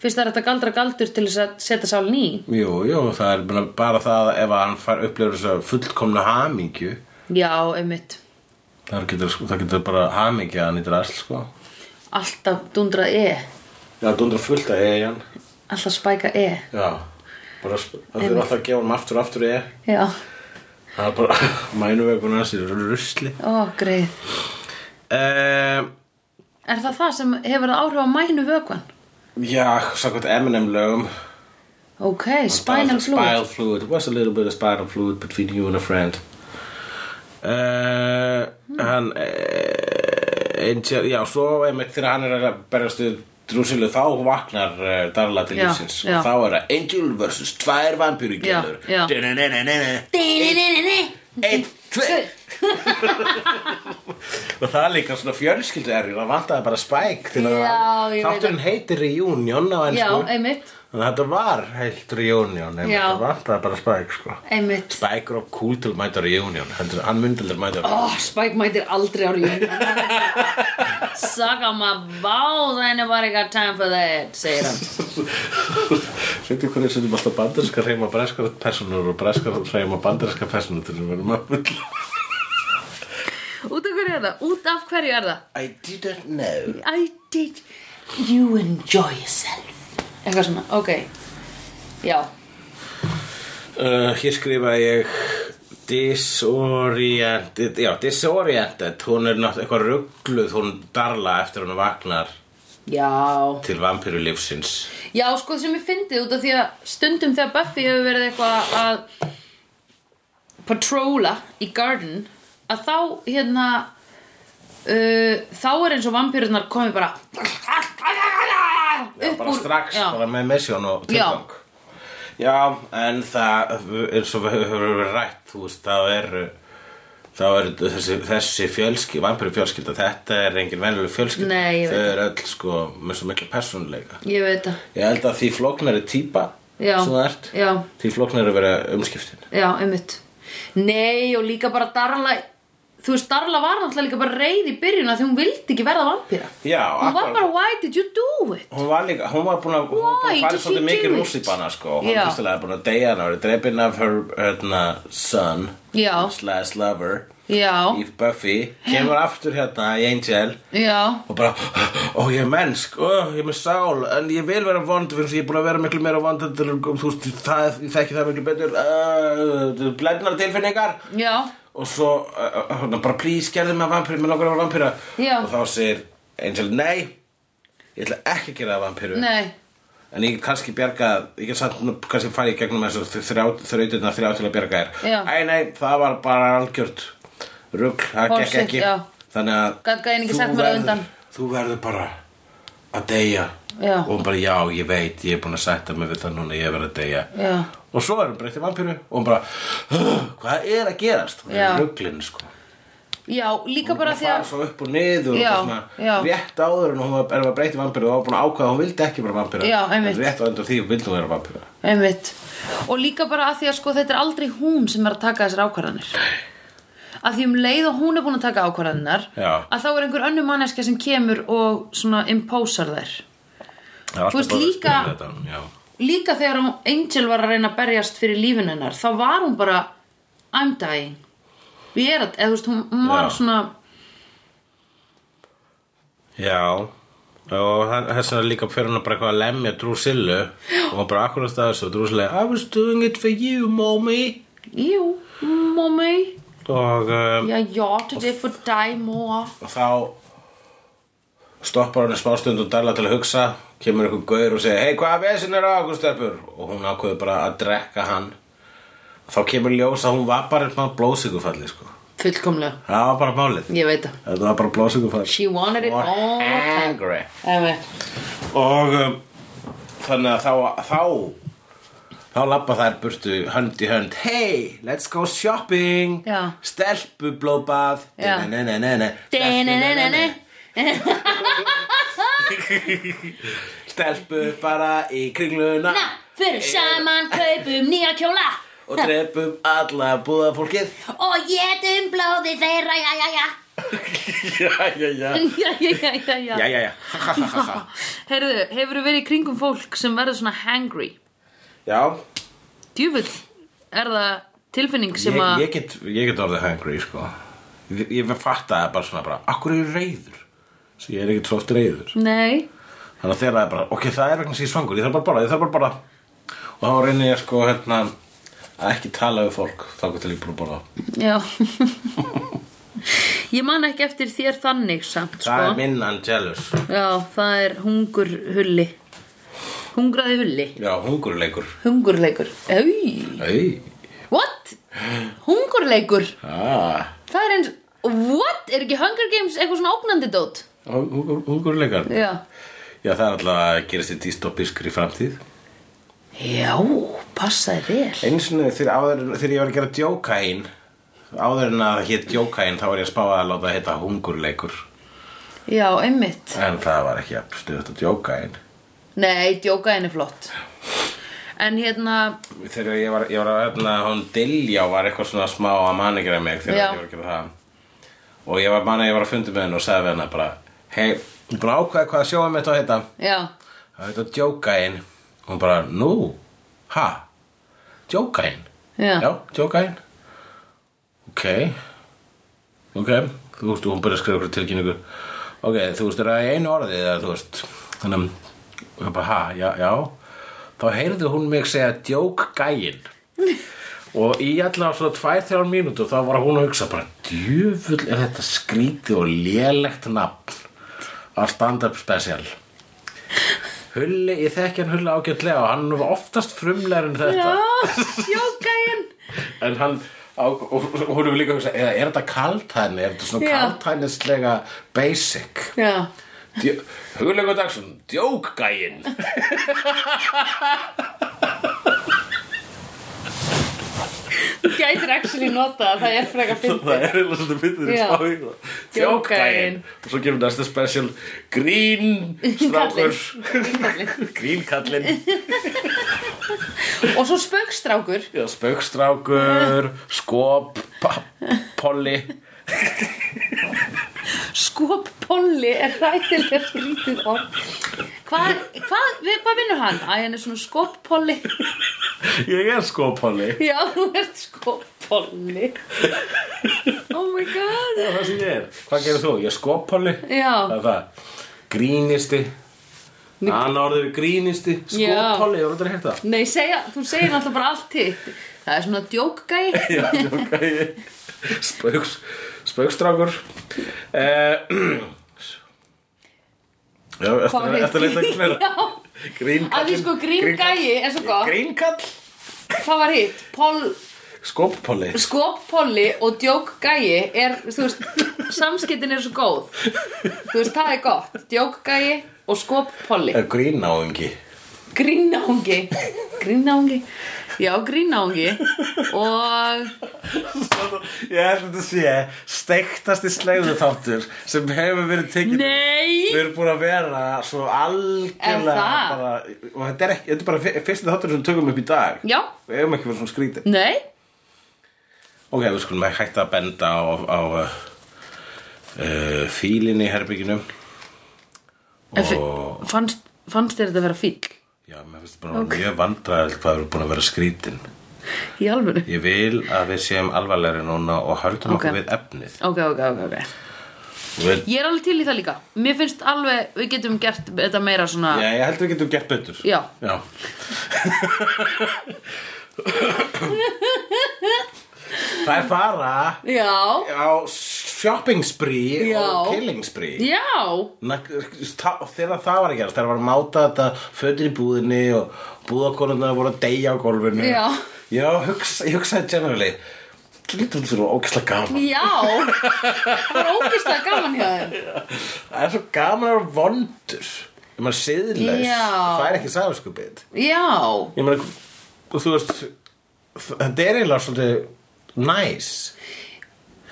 Speaker 2: Fyrst það er hægt að galdra galdur til þess að setja sálin í?
Speaker 3: jú, jú, það er bara- bara það að ef hann fær upplifur þessu fullkomna hamingju
Speaker 2: Já, einmitt.
Speaker 3: það getur, sko, það getur bara hamingja hann í drasl sko.
Speaker 2: Alltaf dundrað E.
Speaker 3: já, dundra fullt að eiga hann
Speaker 2: Alltaf spæka E.
Speaker 3: já, bara, sp- það þurfa alltaf að gefa hann aftur og aftur eiga
Speaker 2: Já.
Speaker 3: E. það er bara mænuvegun hans er rusli
Speaker 2: Ó, greið.
Speaker 3: um,
Speaker 2: Er það það sem hefur áhrif á mænu vökvan?
Speaker 3: já, sagði Eminem lögum
Speaker 2: Ok, spinal
Speaker 3: Spinal
Speaker 2: fluid.
Speaker 3: fluid. It was a little bit of spinal fluid between you and a friend. Uh, Hann, uh, Angel, já, svo einmitt þegar hann er að berjast við drúsilu, þá vaknar uh, Darla til
Speaker 2: Já,
Speaker 3: lífsins.
Speaker 2: já.
Speaker 3: Og þá er það Angel vs. tvær vampýri gælur.
Speaker 2: Já, já.
Speaker 3: Einn, tveir. Og það er líka svona fjölskyldu erjur, það vantaði bara spæk til að
Speaker 2: Já, ég veit
Speaker 3: þátturinn heitir Reunion á
Speaker 2: Já,
Speaker 3: ennsku.
Speaker 2: einmitt.
Speaker 3: Þannig að þetta var heilt reunion en
Speaker 2: Já.
Speaker 3: þetta var alltaf bara Spike sko
Speaker 2: Einmitt.
Speaker 3: Spike er of cool til að mæta á reunion Heldur, hann myndi til að mæta á
Speaker 2: Ó, Spike mætir aldrei á reunion. Suck on my balls, ain't nobody got time for that, segir hann.
Speaker 3: Sveitir hvernig setjum alltaf bandarinska reyma breskar personur og breskar reyma bandarinska personur til að vera með fulla
Speaker 2: Út af hverju er það? Út af hverju er það?
Speaker 3: I didn't know
Speaker 2: I did you enjoy yourself eitthvað svona, ok já,
Speaker 3: uh, Hér skrifa ég Disoriented Já, Disoriented Hún er náttúrulega eitthvað ruggluð Hún darla eftir hún vaknar
Speaker 2: já
Speaker 3: til vampiru lífsins
Speaker 2: já, sko sem ég fyndið út af því að stundum þegar Buffy hefur verið eitthvað að patróla í garden að þá hérna uh, þá er eins og vampýrurnar komið bara
Speaker 3: Já,
Speaker 2: upp
Speaker 3: bara
Speaker 2: úr-
Speaker 3: strax,
Speaker 2: já,
Speaker 3: bara með misjón
Speaker 2: Já.
Speaker 3: og tilgang Já, en það eins og við höfum verið rætt þú veist, þá eru þá eru þessi, þessi fjölsky vampiri fjölskylda, þetta er engin venjuleg fjölskylda
Speaker 2: Nei, ég veit
Speaker 3: þau eru öll sko með svo miklu persónuleika
Speaker 2: ég veit það
Speaker 3: Ég held að því flóknari típa
Speaker 2: Já.
Speaker 3: sem þú ert,
Speaker 2: Já.
Speaker 3: því flóknari vera umskiptin
Speaker 2: Já, einmitt Nei, og líka bara Darla Þú veist, Darla var náttúrulega líka bara reið í byrjun af því hún vildi ekki verða vampíra
Speaker 3: Já,
Speaker 2: Hún var
Speaker 3: akkurat.
Speaker 2: bara, why did you do it?
Speaker 3: Hún var líka, hún var búin að, hún var búin
Speaker 2: Why
Speaker 3: að fara
Speaker 2: did she
Speaker 3: svolítið mikið
Speaker 2: do it?
Speaker 3: rússibana sko Hún
Speaker 2: Já.
Speaker 3: var fyrstilega búin að deyja hann og verið drepin af her, hérna, son
Speaker 2: Já.
Speaker 3: slash lover
Speaker 2: Já,
Speaker 3: í Buffy kemur aftur hérna í Angel
Speaker 2: já,
Speaker 3: og bara, ó ég er mennsk ó ég er með sál, en ég vil vera vond fyrir þess að ég er búin að vera miklu meira vond þetta er, þú veist, það, ég þekki það miklu betur uh, blendnar tilfinningar
Speaker 2: já
Speaker 3: og svo, uh, uh, hérna, bara please gerðu mig að vampíru, mér langar að vera vampíra
Speaker 2: Já.
Speaker 3: og þá segir Angel, nei ég ætla ekki að gera það vampíru
Speaker 2: Nei,
Speaker 3: en ég get kannski bjargað, ég get samt nú kannski farið í gegnum þessu þrautirna þrjá til að bjarga
Speaker 2: Já.
Speaker 3: þér Æ, nei, það var bara algjört rugl, það gekk
Speaker 2: Bullshit,
Speaker 3: ekki
Speaker 2: já.
Speaker 3: þannig að
Speaker 2: Gat gæinn ekki
Speaker 3: þú
Speaker 2: sagt mér á
Speaker 3: verður-
Speaker 2: undan.
Speaker 3: þú verður bara að deyja
Speaker 2: Já.
Speaker 3: og hún bara já, ég veit, ég er búin að sætta mig við það núna, ég er verið að deyja
Speaker 2: já
Speaker 3: og svo er hún breytt í vampíru og hún bara, "Ugh, hvað er að gerast hún
Speaker 2: Já.
Speaker 3: er rugglinn, sko
Speaker 2: Já, líka
Speaker 3: Hún
Speaker 2: bara því
Speaker 3: fara
Speaker 2: að
Speaker 3: svo upp og niður
Speaker 2: Já,
Speaker 3: og svona,
Speaker 2: já.
Speaker 3: rétt áður en hún var, er að breyta í vampíru og var búin að ákvaða að hún vildi ekki vera vampíru
Speaker 2: Já, einmitt.
Speaker 3: rétt á endur því vildi hún vera vampíru
Speaker 2: Einmitt Og líka bara að því að sko þetta er aldrei hún sem er að taka þessar ákvarðanir að því um leið og hún er búin að taka ákvarðanir
Speaker 3: Já.
Speaker 2: að þá er einhver önnur manneskja sem kemur og svona impósar þær
Speaker 3: Það er alltaf
Speaker 2: Þú veist,
Speaker 3: bara að
Speaker 2: líka-
Speaker 3: spila þetta, já.
Speaker 2: líka þegar hún- Angel var að reyna að berjast fyrir lífin hennar þá var hún bara I'm dying ég er að, eða þú veist, hún, hún var
Speaker 3: Já.
Speaker 2: svona
Speaker 3: já og hann- þess vegna líka fyrir hún að bara eitthvað að lemja Drusilla og hún bara akkurat staðis og Drusilla I was doing it for you mommy
Speaker 2: jú, mommy
Speaker 3: og, um,
Speaker 2: já, já, today for die more
Speaker 3: og þá stoppar hún í smástund og darla til að hugsa kemur einhver gaur og segir hei hvað vesen er á okkur stelpur og hún ákveður bara að drekka hann þá kemur ljós að hún var bara eitthvað blóðsíkufalli sko.
Speaker 2: fullkomlega,
Speaker 3: það var bara málið
Speaker 2: ég veit það
Speaker 3: þetta var bara blóðsíkufalli
Speaker 2: she wanted it
Speaker 3: Hún var
Speaker 2: all the
Speaker 3: angry
Speaker 2: time
Speaker 3: og um, þannig að þá þá, þá labba þær burtu hönd í hönd hey, let's go shopping
Speaker 2: Já.
Speaker 3: stelpublóðbað
Speaker 2: Já.
Speaker 3: Di-na-na-na-na.
Speaker 2: Di-na-na-na-na.
Speaker 3: stelpu bara í kringluna
Speaker 2: na, fyrir saman kaupum nýja kjóla
Speaker 3: og drepum alla búða fólkið
Speaker 2: og getum blóði þeirra, já, já, já
Speaker 3: já, já, já
Speaker 2: já, já, já, já,
Speaker 3: já, já, já Ha, ha, ha, ha.
Speaker 2: heyrðu, hefurðu verið í kringum fólk sem verður svona hangry
Speaker 3: já,
Speaker 2: djúvill er það tilfinning sem
Speaker 3: ég,
Speaker 2: að
Speaker 3: ég, get, ég get orðið hangry sko. ég, ég fatta það bara svona bara, akkur er ég reyður svo ég er ekkert svo oft reyður
Speaker 2: Nei,
Speaker 3: Þannig að þegar það er bara, ok, það er vegna sér svangur, ég þarf bara að borða, ég þarf bara að borða. Og þá reyni ég sko, hérna, að ekki tala við fólk þá getur líka búin að borða
Speaker 2: Já Ég man ekki eftir þér þannig samt
Speaker 3: það
Speaker 2: sko.
Speaker 3: er minn Angelus
Speaker 2: Já, það er hungurhulli Hungraði hulli
Speaker 3: já, hungurleikur
Speaker 2: Hungurleikur Au,
Speaker 3: Æ,
Speaker 2: What? Hungurleikur
Speaker 3: ah,
Speaker 2: Það er eins What? Er ekki Hunger Games eitthvað svona ógnandi dót?
Speaker 3: hungur, hungurleikar já.
Speaker 2: Já
Speaker 3: það er alltaf að gerast í dystopískri framtíð
Speaker 2: Já, passaði vel
Speaker 3: eins og þegar, áður- þegar ég var að gera djókain áður en að það hétt djókain þá var ég að spá að láta að heita hungurleikur
Speaker 2: Já, einmitt
Speaker 3: en það var ekki að stuða þetta djókain
Speaker 2: Nei, djókaðin er flott En hérna
Speaker 3: þegar ég var, ég var að öfna hún Diljá var eitthvað svona smá að manigra mig þegar
Speaker 2: Já.
Speaker 3: ég var að gera það og ég var manna, ég var að fundi með henn og sagði við henn bara hei, ég er búin að ákvæða hvað sjóðum þetta að heita
Speaker 2: Já
Speaker 3: það heita Djókain og hún bara, nú, ha Djókain
Speaker 2: Já.
Speaker 3: Djókain ok ok, þú veist, hún byrja að skrifa ykkur tilkynningu ok, þú veist, er það í einu orðið eða þú veist, þannig að hún bara, ha, já, já þá heyrði hún mig segja Djókgæin og í allavega svona tvær þrjár mínútur þá var hún að hugsa bara djöfull er þetta skrítið og lélegt nafn á stand-up special Hulli, ég þekki hann Hulli ágætlega og hann var oftast frumlegar en þetta
Speaker 2: Já, djókaðin
Speaker 3: en hann á, og, og, og hún hefur líka að hugsa eða er þetta kaltæni, er þetta svona
Speaker 2: Já.
Speaker 3: kaltænislega basic
Speaker 2: Já
Speaker 3: Djó- Hugleikur Dagsson, djókgæinn
Speaker 2: Þú gætir actually nota það, það er frekar fyndið
Speaker 3: það er eða svona
Speaker 2: Já.
Speaker 3: fyrir því spá í það
Speaker 2: Djókgæinn.
Speaker 3: djókgæinn og svo kemur næsta special grín strákur grínkallinn
Speaker 2: Og svo spöggstrákur
Speaker 3: Já, spaukstrákur, skop, pa- polli
Speaker 2: Skoppolli er ræðilega skrítið orð Hvað, hvað, við, hvað vinnur hann? Æ, hann er svona skoppolli
Speaker 3: Ég er skoppolli
Speaker 2: Já, þú ert skoppolli Oh my god
Speaker 3: Það er það sem ég er Hvað gerir þú? Ég er skoppolli
Speaker 2: Já.
Speaker 3: Það er það Grínisti Anna orðið við grínisti
Speaker 2: Já.
Speaker 3: Skoppolli, ég var aldrei að hérta
Speaker 2: Nei, segja, þú segir náttúrulega bara allt hitt Það er svona djókgæ
Speaker 3: Já, ok Spauks, Spaukstrákur uh, Já, eftir
Speaker 2: Hvað
Speaker 3: að- eftir að leita ekki meira
Speaker 2: Já, að því
Speaker 3: Grínkallinn
Speaker 2: sko gríngæi er svo gott
Speaker 3: Grínkall
Speaker 2: Hvað var hitt? Pol,
Speaker 3: Skoppolli
Speaker 2: skoppolli Sko, og djókgæi er, þú veist, samskiptin er svo góð Þú veist, það er gott Djókgæi og sko, skoppolli
Speaker 3: Er Eh, grínáungi
Speaker 2: Grínáungi Grínáungi Já, grínáungi Og
Speaker 3: Ég held að þetta sé steiktasti slegðu þáttur sem hefur verið tekið Við
Speaker 2: Nei
Speaker 3: erum búin að vera svo algjörlega
Speaker 2: Er það?
Speaker 3: bara, og þetta er, ekki, þetta er bara fyr- fyrsti þáttur sem við tökum upp í dag
Speaker 2: Já,
Speaker 3: Við hefum ekki verið svona skrítið
Speaker 2: nei
Speaker 3: Ok, við skulum ekki hætta að benda á, á uh, uh, fílinn í herbygginu
Speaker 2: En fi-
Speaker 3: og
Speaker 2: Fannst, fannst þér þetta að vera fíll?
Speaker 3: já, mér finnst bara okay. mjög vandræðilegt hvað við erum búin að vera skrítin
Speaker 2: Í alvöru
Speaker 3: Ég vil að við séum alvarlegri núna og höldum
Speaker 2: Ok.
Speaker 3: okkur við efnið
Speaker 2: Ok, ok, ok, ok
Speaker 3: við,
Speaker 2: Ég er alveg til í það líka Mér finnst alveg, við getum gert þetta meira svona
Speaker 3: Já, ég held við getum gert betur
Speaker 2: Já,
Speaker 3: Já Það er fara
Speaker 2: já,
Speaker 3: á shopping spree
Speaker 2: Já.
Speaker 3: og killing spree
Speaker 2: já.
Speaker 3: Na- tá- Þegar það var að gerast þegar var að máta þetta fötur í búðinni og búðakonundar voru að deyja á gólfinu
Speaker 2: Já.
Speaker 3: Já, hugsa, ég hugsaði generally Lítur þú svo ógislega gaman
Speaker 2: Já, það er ógislega gaman hjá þeim
Speaker 3: Það er svo gaman að vera vondur Ef maður er siðlaus
Speaker 2: Já.
Speaker 3: Það er ekki sæðaskupið
Speaker 2: Já,
Speaker 3: ég meina, og þú veist þetta er eiginlega svolítið næs Ég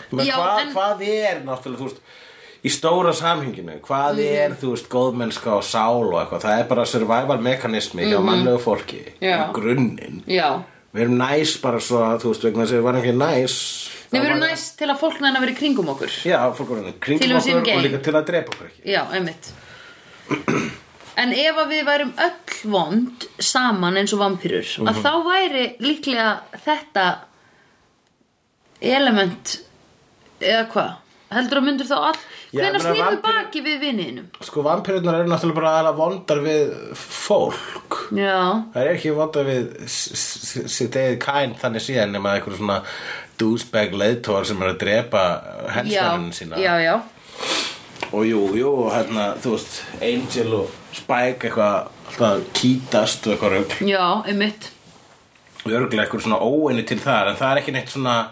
Speaker 3: meina,
Speaker 2: Já,
Speaker 3: hvað,
Speaker 2: en-
Speaker 3: hvað er náttúrulega, þú veist í stóra samhenginu, hvað
Speaker 2: Mhm.
Speaker 3: er þú veist, góðmennska og sál og eitthvað það er bara survival mekanismi hjá mannlegu fólki
Speaker 2: Mhm. Já.
Speaker 3: í grunninn
Speaker 2: já
Speaker 3: við erum næs bara svo að, þú veist, vegna þess að við varum ekki næs
Speaker 2: Nei, við erum
Speaker 3: þá var-
Speaker 2: næst til að fólk næna verið kringum okkur
Speaker 3: já, fólk varum
Speaker 2: Til
Speaker 3: kringum
Speaker 2: við séum
Speaker 3: okkur
Speaker 2: gay.
Speaker 3: og líka til að drepa okkur ekki
Speaker 2: Já, einmitt En ef að við værum öll vond saman eins og vampýrur að
Speaker 3: Mhm.
Speaker 2: þá væri líklega þetta element eða hvað heldur að myndur þá all
Speaker 3: Já,
Speaker 2: hvenær
Speaker 3: ég meina,
Speaker 2: snýrðu
Speaker 3: vampíru-
Speaker 2: baki við vinninum
Speaker 3: Sko vampirurnar eru náttúrulega bara aðra vondar við fólk
Speaker 2: já,
Speaker 3: Það er ekki vondar við s- s- sitt eigið kæn þannig síðan nema einhver svona douchebag leiðtóar sem er að drepa
Speaker 2: já,
Speaker 3: hensmenninu sína
Speaker 2: já, já
Speaker 3: og jú, jú, og hérna, þú veist Angel og Spike eitthvað alltaf kítast og eitthvað rögl
Speaker 2: já, einmitt
Speaker 3: og örgulega eitthvað svona óinni til þar en það er ekki neitt svona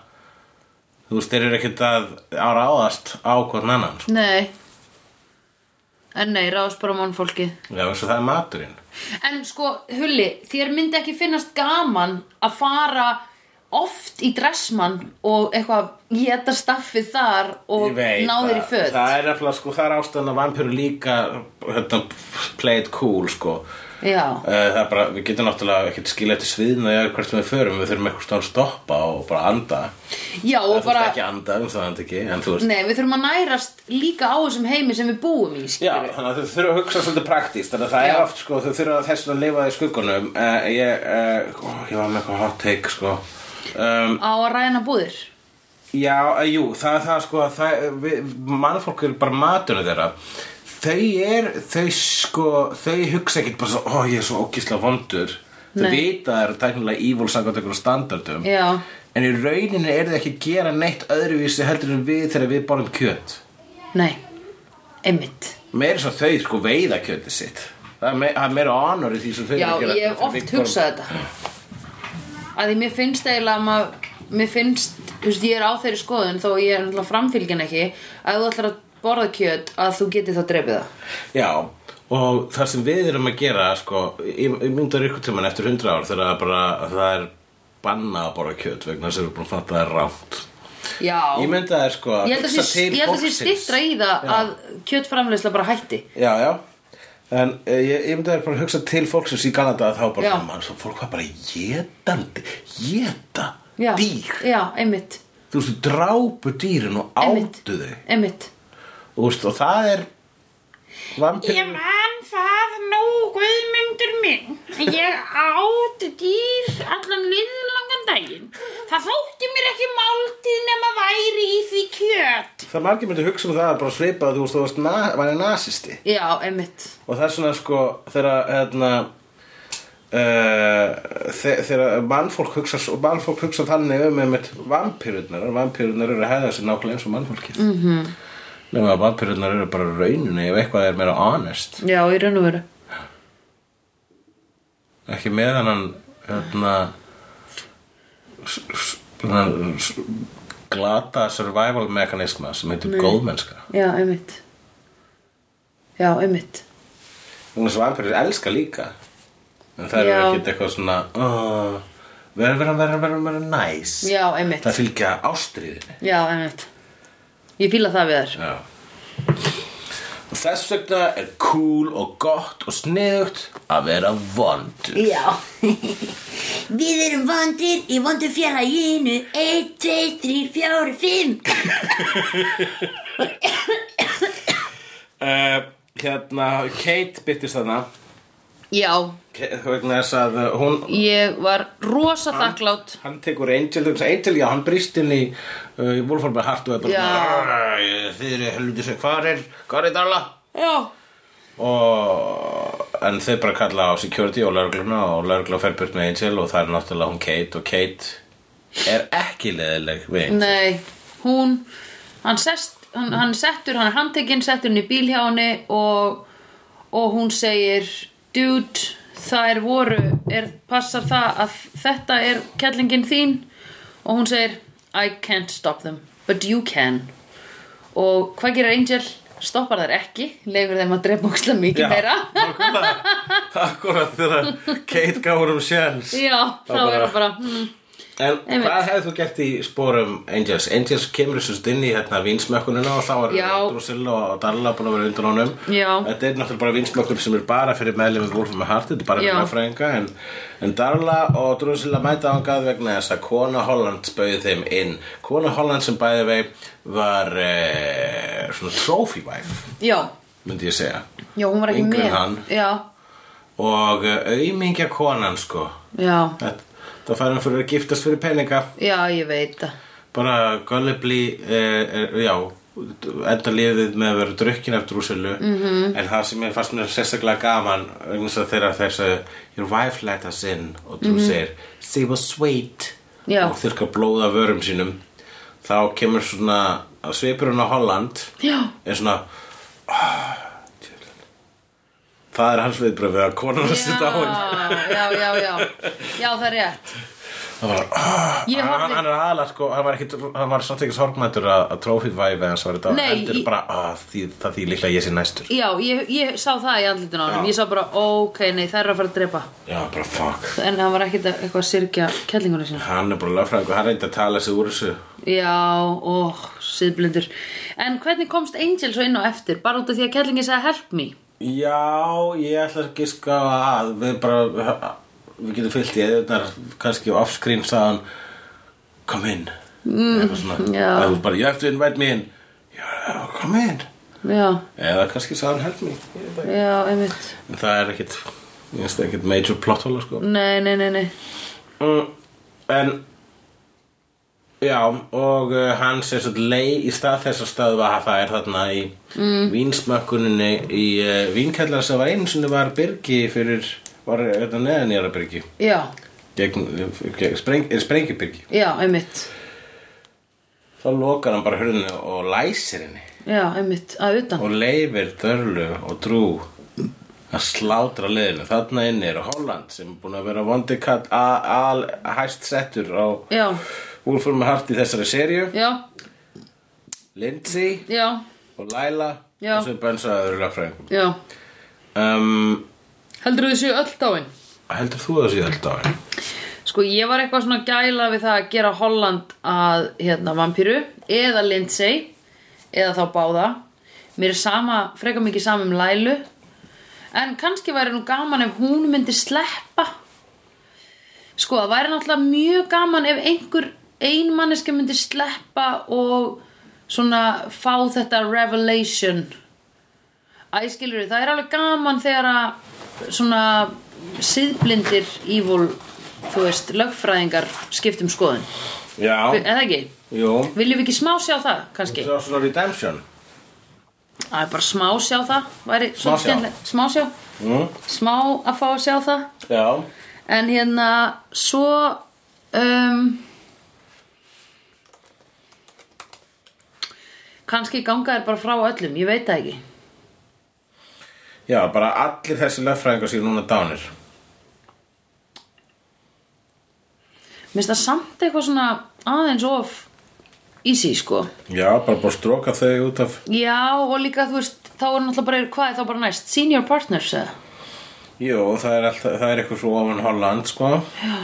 Speaker 3: þú veist, þeir eru ekkert að að ráðast á hvern annan sko.
Speaker 2: nei en nei, ráðs bara mannfólkið
Speaker 3: já, þess að það er maturinn
Speaker 2: En sko, Hulli, þér myndi ekki finnast gaman að fara oft í dressmann og eitthvað geta staffið þar og
Speaker 3: Ég veit
Speaker 2: ná þér í
Speaker 3: það.
Speaker 2: föt.
Speaker 3: Það er nefnilega sko, það er ástæðan að vampíru líka hérna, play it cool sko
Speaker 2: Já,
Speaker 3: Eh, Það er bara, við getum náttúrulega ekkert skilja eftir sviðna eða hvert sem við förum, við þurfum eitthvað stóðan stoppa og bara anda
Speaker 2: já
Speaker 3: Það
Speaker 2: og
Speaker 3: þurft
Speaker 2: bara,
Speaker 3: ekki að anda um það anda ekki, en þú veist
Speaker 2: nei, við þurfum að nærast líka á þessum heimi sem við búum í,
Speaker 3: Já,
Speaker 2: skilur
Speaker 3: þannig að þau þurfa að hugsa svolítið praktíst Þannig að það
Speaker 2: Já.
Speaker 3: er oft, sko, þau þurfa að þess að lifa í skuggunum uh, ég, uh, ó, ég var með eitthvað hot take, sko um,
Speaker 2: Á að ræna búðir.
Speaker 3: Já, eh, jú, það er það sko að það, við, mannfólk eru bara matunum þeirra þau er, þau sko þau hugsa ekkert bara svo, ó ég er svo ógislega vondur þau
Speaker 2: Nei.
Speaker 3: vita það eru tæknilega evil samkvæmt einhverjum standardum
Speaker 2: Já,
Speaker 3: en í rauninni er þau ekki að gera neitt öðruvísi heldur en við þegar við borðum kjöt
Speaker 2: nei, einmitt.
Speaker 3: meira svo þau sko veiða kjötið sitt það er me- það er meira honor í því sem þau
Speaker 2: Já,
Speaker 3: eru að gera
Speaker 2: ég hef
Speaker 3: þegar
Speaker 2: oft
Speaker 3: við borðum-
Speaker 2: hugsað þetta. Að því mér finnst eiginlega að maður, mér finnst, þú veist, ég er á þeirri skoðun þó ég er náttúrulega framfylgin ekki að þú ætlar að borða kjöt að þú getið þá drefið það.
Speaker 3: Já, og það sem við erum að gera sko, ég ég myndar ykkur tíman eftir 100 ár þegar það bara, það er banna að borða kjöt vegna þess að við erum búin að fatta það er rámt
Speaker 2: Já.
Speaker 3: Ég myndi að það er sko
Speaker 2: Ég held að
Speaker 3: hugsa
Speaker 2: sé- ég
Speaker 3: til
Speaker 2: held að sé
Speaker 3: fólksins.
Speaker 2: stittra í það
Speaker 3: Já.
Speaker 2: að kjötframleysla bara hætti.
Speaker 3: Já, já En eh, ég, ég myndi að það er bara að hugsa til fólksins í Kanada að þá bara,
Speaker 2: Já.
Speaker 3: mann, svo fólk var bara jétandi, jéta
Speaker 2: Já.
Speaker 3: dýr,
Speaker 2: Já, einmitt.
Speaker 3: þú veist, þau drápu dýrin og
Speaker 2: Einmitt.
Speaker 3: áttu þau
Speaker 2: Einmitt.
Speaker 3: og, veist, og það er vampir
Speaker 1: Ég man það nú, Guðmundur minn. Ég átt dýr allan liðlangan daginn. Það þótti mér ekki máltíð nema væri í því kjöt.
Speaker 3: það margir myndi hugsa um það að bara svipa að þú veist, þú veist, na, væri nasisti
Speaker 2: Já, einmitt.
Speaker 3: og það er svona sko þegar hérna Uh, þe þegar mannfólk hugsa og mannfólk hugsa þannig um einmitt vampirurnar, vampirurnar eru að hefða sér nákvæmlega eins og mannfólkið mm -hmm. nema að vampirurnar eru bara rauninni ef eitthvað er meira honest
Speaker 2: Já, í raun og veru.
Speaker 3: ekki með hann hérna s- s- þennan s- glata survival mekanisma sem heitir góðmennska
Speaker 2: Já, einmitt. Já, einmitt.
Speaker 3: Hún er svampirur elska líka En
Speaker 2: Já.
Speaker 3: það eru ekkert eitthvað svona "Oh, Verður verður verður verður verður næs
Speaker 2: Já, einmitt.
Speaker 3: Það fylgja ástriðinni
Speaker 2: Já, einmitt. Ég fíla það við þær.
Speaker 3: Já Og þess vegna er cool og gott og sniðugt að vera vondur
Speaker 2: Já.
Speaker 4: Við erum vondir í vondu fjarlæginu 1, 2, 3, 4, 5
Speaker 3: uh, Hérna, Kate byttist þarna
Speaker 2: Já,
Speaker 3: Kate- vegna þess að uh, hún
Speaker 2: ég var rosa þakklátt.
Speaker 3: Hann tekur Angel, þú veist, Angel, já, hann brýst inn í uh, Wolfram Hart og er bara
Speaker 2: Já.
Speaker 3: "Arr, Þið eru helviti svo, hvað er, hvað er dala?
Speaker 2: Já.
Speaker 3: og en þau bara kalla á security og laurugluna og laurugla fer burt með Angel og það er náttúrulega hún Kate og Kate er ekki leðileg við Angel
Speaker 2: Nei, hún, hann, sest, hann, hann settur, hann er handtekinn, settur hann í bíl hjá henni og, og hún segir, dude, það er voru, er, passar það að þetta er kellingin þín og hún segir, I can't stop them, but you can. Og hvað gerir Angel? Stoppar þær ekki, leifir þeim að drepa óksla mikið meira.
Speaker 3: Akkurat þegar Kate gáður um sjans
Speaker 2: Já, þá er það bara, hmm,
Speaker 3: En
Speaker 2: Einmitt.
Speaker 3: hvað hefði þú gert í spórum Angels? Angels kemur þessu stinn í hérna vinsmökkunina og þá er
Speaker 2: Já.
Speaker 3: Drusilla og Dalla búin að vera undan honum
Speaker 2: Já.
Speaker 3: Þetta er náttúrulega bara vinsmökkun sem er bara fyrir meðlefum Wolf með Hart, þetta er bara
Speaker 2: Já.
Speaker 3: fyrir fræðinga en, en Dalla og Drusilla mæta ángað vegna þess að Kona Holland bauði þeim inn Kona Holland sem bæði vei var eh, svona trophy wife
Speaker 2: já,
Speaker 3: myndi ég segja
Speaker 2: já, hún var ekki
Speaker 3: Yngri en
Speaker 2: með.
Speaker 3: hann.
Speaker 2: Já,
Speaker 3: og eh, aumingja konan sko
Speaker 2: já,
Speaker 3: Þetta, það fær hann fyrir að giftast fyrir peninga
Speaker 2: já, ég veit það.
Speaker 3: bara gullibli uh, uh, já, enda liðið með að vera drukkin af drúsilu -hmm. en það sem ég fannst mér sérstaklega gaman vegna þess að þeirra þess að your wife let us in og drú segir she was sweet
Speaker 2: Já.
Speaker 3: og þurrka blóð af vörum sínum þá kemur svona svipurinn á Holland
Speaker 2: Já.
Speaker 3: er svona oh, það er hans viðbröfið að konan að sitja á henni
Speaker 2: já, já, já, já, það er rétt
Speaker 3: Það var, ah,
Speaker 2: Ég
Speaker 3: hann,
Speaker 2: horfði-
Speaker 3: hann er aðalega sko, hann var, ekkit, hann var samt ekki sorgmættur að, að trófíðvæfi hans var þetta
Speaker 2: Nei,
Speaker 3: heldur
Speaker 2: í-
Speaker 3: bara, ah, því, það því líklega ég sé næstur
Speaker 2: Já, ég, ég sá það í andlutinu á hann
Speaker 3: Já.
Speaker 2: Ég sá bara, ok, nei, það er að fara að drepa
Speaker 3: Já, bara fuck
Speaker 2: En hann var ekkit að- eitthvað að syrkja kellingunni sína
Speaker 3: Hann er bara lögfræðingur, hann reyndi að tala sig úr þessu
Speaker 2: Já, ó, síðblindur En hvernig komst Angel svo inn á eftir? Bara út af því að kellingi sagði help me
Speaker 3: Já, ég ætla að giska að við bara við getum fyllt í eðunar kannski á offscreen sagðan come in mm, eitthvað svona,
Speaker 2: já.
Speaker 3: Eða þú bara, you have to invite me in já, come in
Speaker 2: Já,
Speaker 3: eða kannski sagðan help me Ég veit það ekki.
Speaker 2: já, einmitt
Speaker 3: en það er ekkit, ég veist ekkit major plot hole sko.
Speaker 2: Nei, nei, nei, nei
Speaker 3: mm, en já, og uh, hann sem sagt lei í stað þess að stöðva að það er þarna í mm. vínsmökkuninni í uh, vínkællara sem var einu sinni var byrgi fyrir, var þetta neðan í ára byrgi
Speaker 2: Já,
Speaker 3: gegn, gegn spreng, eh, er sprengjubyrgi
Speaker 2: já, einmitt
Speaker 3: þá lokar hann bara hurðinu og læsir henni
Speaker 2: Já, einmitt, að utan
Speaker 3: og leifir dörlu og drú að slátra liðinu þarna inni er Holland sem er búin að vera vondi kall a- al hæst settur á
Speaker 2: Já,
Speaker 3: Úlfur með hart í þessari seríu
Speaker 2: já,
Speaker 3: Lindsay
Speaker 2: já,
Speaker 3: og Laila
Speaker 2: Já.
Speaker 3: og svo bensaði öðru lögfræðingum
Speaker 2: já
Speaker 3: um,
Speaker 2: Heldur þú séu öll dáin?
Speaker 3: heldur þú þessi öll daginn?
Speaker 2: Sko, ég var eitthvað svona gæla við það að gera Holland að, hérna, vampíru eða Lindsay eða þá báða Mér er sama, frekar mikið sama um Lælu En kannski væri nú gaman ef hún myndi sleppa Sko, það væri náttúrulega mjög gaman ef einhver einmanneski myndi sleppa og svona fá þetta revelation Æ, skilur það er alveg gaman þegar að svona síðblindir evil, þú veist, lögfræðingar skiptum skoðun,
Speaker 3: Já,
Speaker 2: eða ekki?
Speaker 3: jú
Speaker 2: Viljum við ekki smá sjá það, kannski?
Speaker 3: Svo svona redemption
Speaker 2: Það er bara smá sjá það, væri
Speaker 3: Smá sjá.
Speaker 2: skemmtilegt. smá sjá,
Speaker 3: mm.
Speaker 2: smá að fá að sjá það
Speaker 3: Já,
Speaker 2: En hérna, svo um, kannski ganga þér bara frá öllum, ég veit það ekki
Speaker 3: já, bara allir þessi lögfræðingar séu núna dánir
Speaker 2: Mér finnst það samt eitthvað svona aðeins of easy, sko
Speaker 3: Já, bara búið að stróka þau út af
Speaker 2: Já, og líka, þú veist, þá er náttúrulega bara, hvað er þá bara næst? Senior partners, eða?
Speaker 3: Jú, það er, alltaf, það er eitthvað svo ofan Holland, sko Já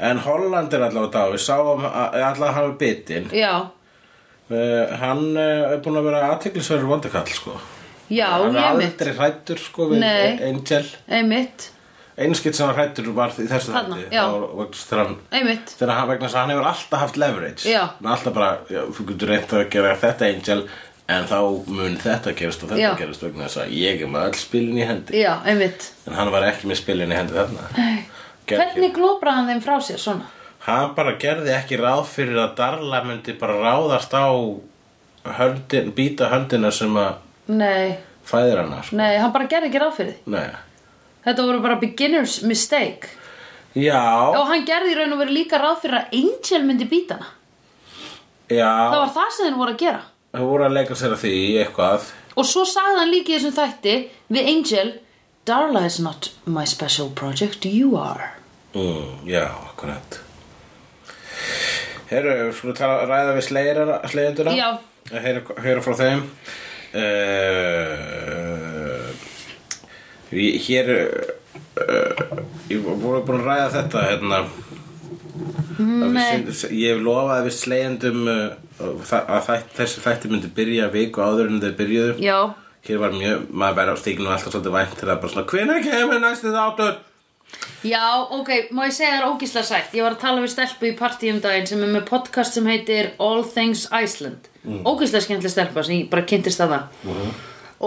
Speaker 3: En Holland er allavega dáið, sá að allavega hafa bitinn
Speaker 2: Já,
Speaker 3: uh, Hann uh, er búin að vera aðteglisverður vondakall, sko
Speaker 2: já,
Speaker 3: Hann
Speaker 2: ég
Speaker 3: er
Speaker 2: mitt
Speaker 3: aldrei hrættur, sko, við
Speaker 2: Nei.
Speaker 3: Angel
Speaker 2: Einmitt,
Speaker 3: Einu skitt sem hann hrættur var í þessu
Speaker 2: Þarna,
Speaker 3: þætti,
Speaker 2: já.
Speaker 3: þá var- vegna þess þegar hann
Speaker 2: einmitt
Speaker 3: Þegar hann vegna þess að hann hefur alltaf haft leverage
Speaker 2: Já.
Speaker 3: Hann er alltaf bara, já, þú getur reynt að gera þetta Angel En þá mun þetta gerast og þetta
Speaker 2: Já.
Speaker 3: gerast vegna þess að ég er með öll spilin í hendi
Speaker 2: Já, einmitt
Speaker 3: En hann var ekki með spilin í hendi þarna Gekk-
Speaker 2: Hvernig glóbraði hann þeim frá sér, svona?
Speaker 3: Hann bara gerði ekki ráð fyrir að Darla myndi bara ráðast á höndin, býta höndina sem að
Speaker 2: Nei,
Speaker 3: fæðir hana sko.
Speaker 2: nei, hann bara gerði ekki ráð fyrir því
Speaker 3: Nei.
Speaker 2: Þetta voru bara beginner's mistake
Speaker 3: Já,
Speaker 2: Og hann gerði í raun og verið líka ráð fyrir að Angel myndi býta hana Það
Speaker 3: já,
Speaker 2: var það sem þeir voru að gera
Speaker 3: þau voru að leika sér að því í eitthvað
Speaker 2: Og svo sagði hann líka í þessum þætti Við Angel Darla is not my special project, you are
Speaker 3: mm, Já, akkurat Herru, við skulum tala, ræða við slegjara- slegjenduna
Speaker 2: Já.
Speaker 3: Heyra, heyra frá þeim uh, Hér uh, Ég voru búin að ræða þetta hérna Að við syn- Ég lofaði að við slegjendum uh, þa- að þætt, þessi þætti myndi byrja viku áður en þau byrjuðu
Speaker 2: Já,
Speaker 3: Hér var mjög, maður verið á stíknu alltaf svolítið vænt til að bara svona Hvenær kemur næstu þáttur?
Speaker 2: já, ok, má ég segja þér ógísla sætt Ég var að tala við stelpu í partí um daginn sem er með podcast sem heitir All Things Iceland mm. Ógísla skemmtileg stelpa sem ég bara kynntist að það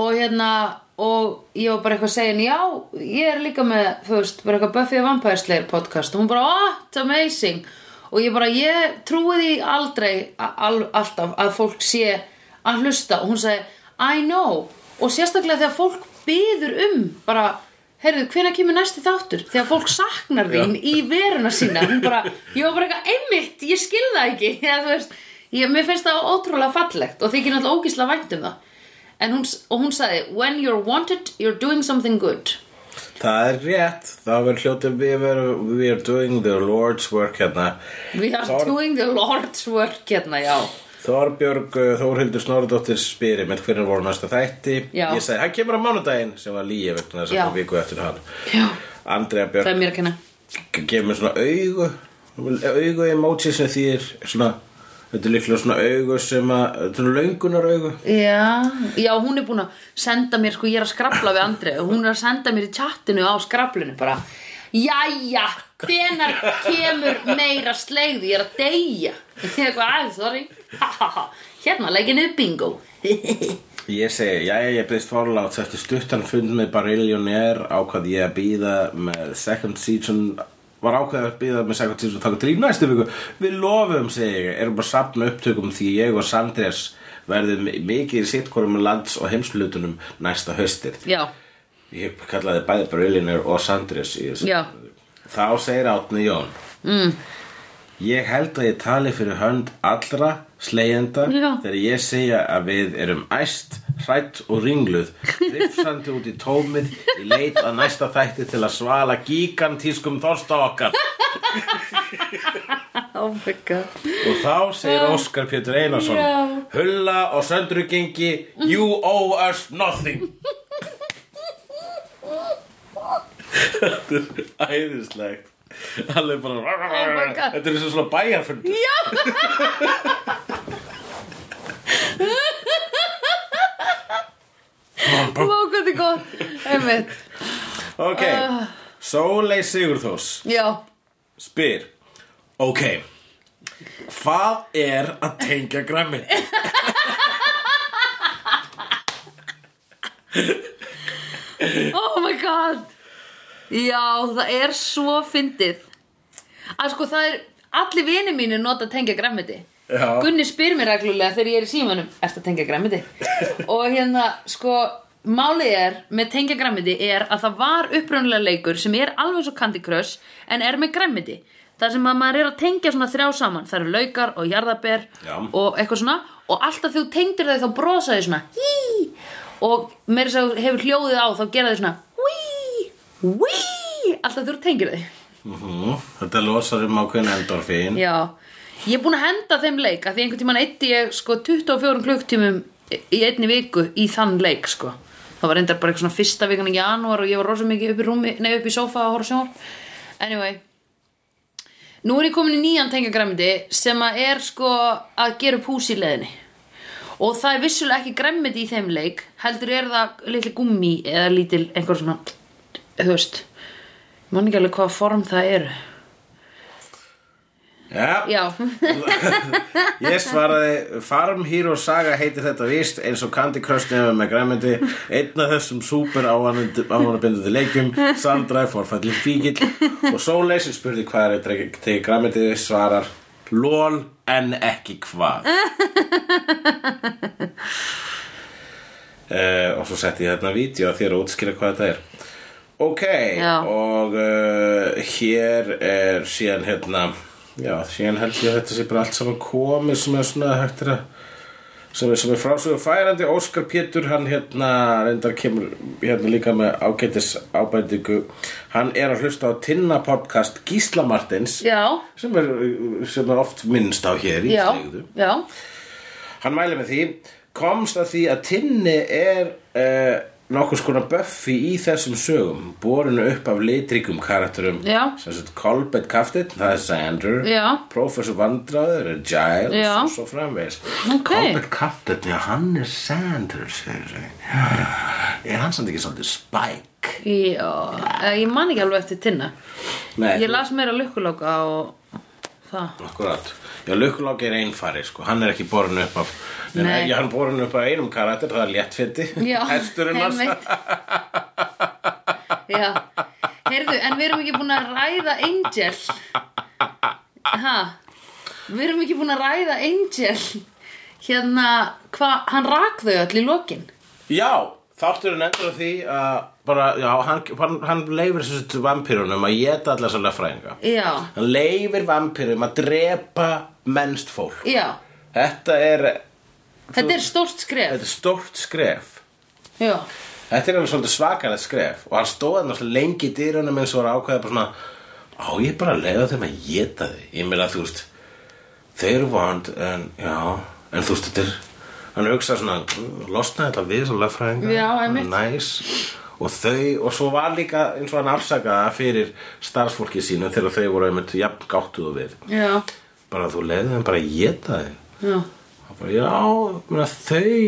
Speaker 2: og hérna og ég var bara eitthvað að segja henni já, ég er líka með, þú veist, bara eitthvað Buffy the Vampire Slayer podcast og hún bara, oh, it's amazing og ég bara, ég trúi því aldrei a- al alltaf að fólk sé að hlusta og hún sagði I know og sérstaklega þegar fólk byður um bara heyrðu, hvenær kemur næsti þáttur? Þegar fólk saknar þín í veruna sína hún bara, ég var bara eitthvað einmitt ég skil það ekki Eða, þú veist, ég, mér finnst það ótrúlega fallegt og þykir náttúrulega ógísla vænt um það En hún, s- og hún sagði When you're wanted, you're doing something good
Speaker 3: Það er rétt, það verður hljótið við verum, we are doing the Lord's work hérna.
Speaker 2: We are
Speaker 3: Þor-
Speaker 2: doing the Lord's work hérna, já
Speaker 3: Þorbjörg uh, Þórhildur Snorðdóttir spyrir með hvernig voru næsta þætti.
Speaker 2: Já.
Speaker 3: Ég sagði, hann kemur á mánudaginn sem var líi vegna þess að
Speaker 2: Já.
Speaker 3: það viku eftir hann.
Speaker 2: Já,
Speaker 3: Andrea
Speaker 2: það er
Speaker 3: Björg
Speaker 2: mér að kenna
Speaker 3: gefur mér svona augu, augu emoji sem þýðir svona, þetta er líklega svona augu sem að, svona löngunar augu.
Speaker 2: Já, já, hún er búin að senda mér, sko, ég er að skrafla við Andri og hún er að senda mér í chattinu á skraflinu bara Jæja, hvenar kemur meira sleigð, ég er að deyja Ég er eitthvað aðeins, sorry Ha, ha, ha. Hérna, leggin niður bingo
Speaker 3: Ég segi, jæja, ég byrðist forláts eftir stuttan fund með Barillionaire ákvað ég að býða með second season var ákveðið að býða með second season og taka þrír næstu viku við lofum, segi ég, erum bara að sapna upptökum því ég og Sandres verðum mikið í sittkorum lands og heimslutunum næsta haustið
Speaker 2: Já,
Speaker 3: ég kallaði bæði Barillionaire og Sandres í þessu
Speaker 2: Já.
Speaker 3: þá segir Átni Jón mm. ég held að ég tali fyrir hönd allra slegjenda
Speaker 2: Já.
Speaker 3: þegar ég segja að við erum æst, hrætt og ringluð hrifsandi út í tómið í leit að næsta þætti til að svala gigantískum þorsta okkar
Speaker 2: oh my god
Speaker 3: og þá segir Óskar Pétur Einarsson
Speaker 2: Já.
Speaker 3: hulla og söndrugengi you owe us nothing þetta er æðislegt Allir
Speaker 2: Oh
Speaker 3: bara
Speaker 2: my God.
Speaker 3: Þetta er eins og svona bæjarfund
Speaker 2: Já Vá, hvað þetta er gott Einmitt,
Speaker 3: Ok,
Speaker 2: Ah.
Speaker 3: Sólei Sigurþórs
Speaker 2: já
Speaker 3: spyr Ok, hvað er að tengja græmmin?
Speaker 2: Oh my god Já, það er svo fyndið Að sko það er Allir vinir mínu nota tengja græmiti
Speaker 3: Já.
Speaker 2: Gunni spyr mér reglulega þegar ég er í símanum Ertu að tengja græmiti? Og hérna, sko Málið er með tengja græmiti er að það var upprunnulega leikur sem er alveg svo Candy Crush en er með græmiti Það sem að maður er að tengja svona þrjá saman Það eru laukar og jarðaber
Speaker 3: Já.
Speaker 2: og eitthvað svona og alltaf þegar þú tengdir þau þá brosa þau svona hí og meira þess að þú hefur hljóðið á þá gera þau svona hí, hí alltaf þegar þú tengir þau
Speaker 3: Mhm. Þetta losar um ákveðin endorfín
Speaker 2: Já, ég er búin að henda þeim leik að því einhvern tímann eitti ég sko 24 klukktímum í einni viku í þann leik sko það var reyndar bara eitthvað svona fyrsta vikan í janúar og ég var rosa mikið upp í rúmi, nei upp í sófa að horfa sjónvarp anyway Nú er ég komin í nýjan tengjagræmiti sem að er sko að gera upp hús í leðinni og það er vissulega ekki græmiti í þeim leik heldur er það litli gummi eða lítil einhver svona þú veist, ég man ekki alveg hvaða form það eru
Speaker 3: Já,
Speaker 2: Já,
Speaker 3: Ég svaraði Farm Hero Saga heitir þetta víst eins og Candy Crush nefnum með græmyndi einn af þessum super áhannabindandi leikjum Sandra er forfællin fíkil og Sólei sem spurði hvað er til græmyndi svarar LOL en ekki hvað uh, og svo setti ég þarna vídeo að þér að útskýra hvað þetta er Ok,
Speaker 2: Já.
Speaker 3: og uh, hér er síðan hérna Já, síðan held ég að þetta sé bara allt saman komið sem er svona hægt er að sem er, sem er frásögur færandi Óskar Pétur, hann hérna reyndar kemur hérna líka með ágætis ábændingu hann er að hlusta á Tinna podcast Gísla Martins
Speaker 2: já
Speaker 3: sem er, sem er oft minnst á hér í
Speaker 2: já,
Speaker 3: slegðu
Speaker 2: já,
Speaker 3: Hann mæli með því komst að því að Tinni er uh, nokkurs konar böffi í þessum sögum borinu upp af litríkum karakterum
Speaker 2: Já.
Speaker 3: sem sett Colbert Kaftin, það er Sander
Speaker 2: Já.
Speaker 3: Professor Vandræður er Giles
Speaker 2: Já.
Speaker 3: og svo framvegis
Speaker 2: Ok.
Speaker 3: Colbert Kaftin, já hann er Sander segir sig er hann samt ekki svolítið Spike
Speaker 2: já. Eh, Ég man ekki alveg eftir tinna
Speaker 3: Nei,
Speaker 2: Ég las meira lukkulóka og það
Speaker 3: Akkurat. Já, Lukkulák er einfari, sko. Hann er ekki borin upp af... Nei.
Speaker 2: Nei.
Speaker 3: Já, hann er borin upp af einum karakter, það er léttfiti.
Speaker 2: Já,
Speaker 3: Hesturinn hans.
Speaker 2: einmitt. Já, heyrðu, en við erum ekki búin að ræða Angel Ha, við erum ekki búin að ræða Angel Hérna, hvað, hann rak þau öll í lokin
Speaker 3: Já, þátturinn endur á því að bara, já, hann, hann, hann leifir þessu vampýrunum að geta allar svolítið fræðinga
Speaker 2: Já,
Speaker 3: Hann leifir vampýrum að drepa mennst fólk
Speaker 2: já,
Speaker 3: Þetta er,
Speaker 2: þetta er stórt skref
Speaker 3: þetta er stórt skref
Speaker 2: Já,
Speaker 3: Þetta er alveg svolítið svakalegt skref og hann stóð hann alltaf lengi í dyrunum eins og var ákveða bara svona á ég bara að leiða þeim að geta því ég meina þú veist þau eru vond en já en þú veist þetta er hann hugsaði svona "Mm, losnaði þetta við svo lögfræðinga
Speaker 2: Já, einmitt.
Speaker 3: næs og þau og svo var líka eins og hann afsakaða fyrir starfsfólki sínu þegar þau voru einmitt jafn gáttuð og við
Speaker 2: já,
Speaker 3: bara þú leiði þeim bara að geta því
Speaker 2: já
Speaker 3: Það bara, já, meina, þau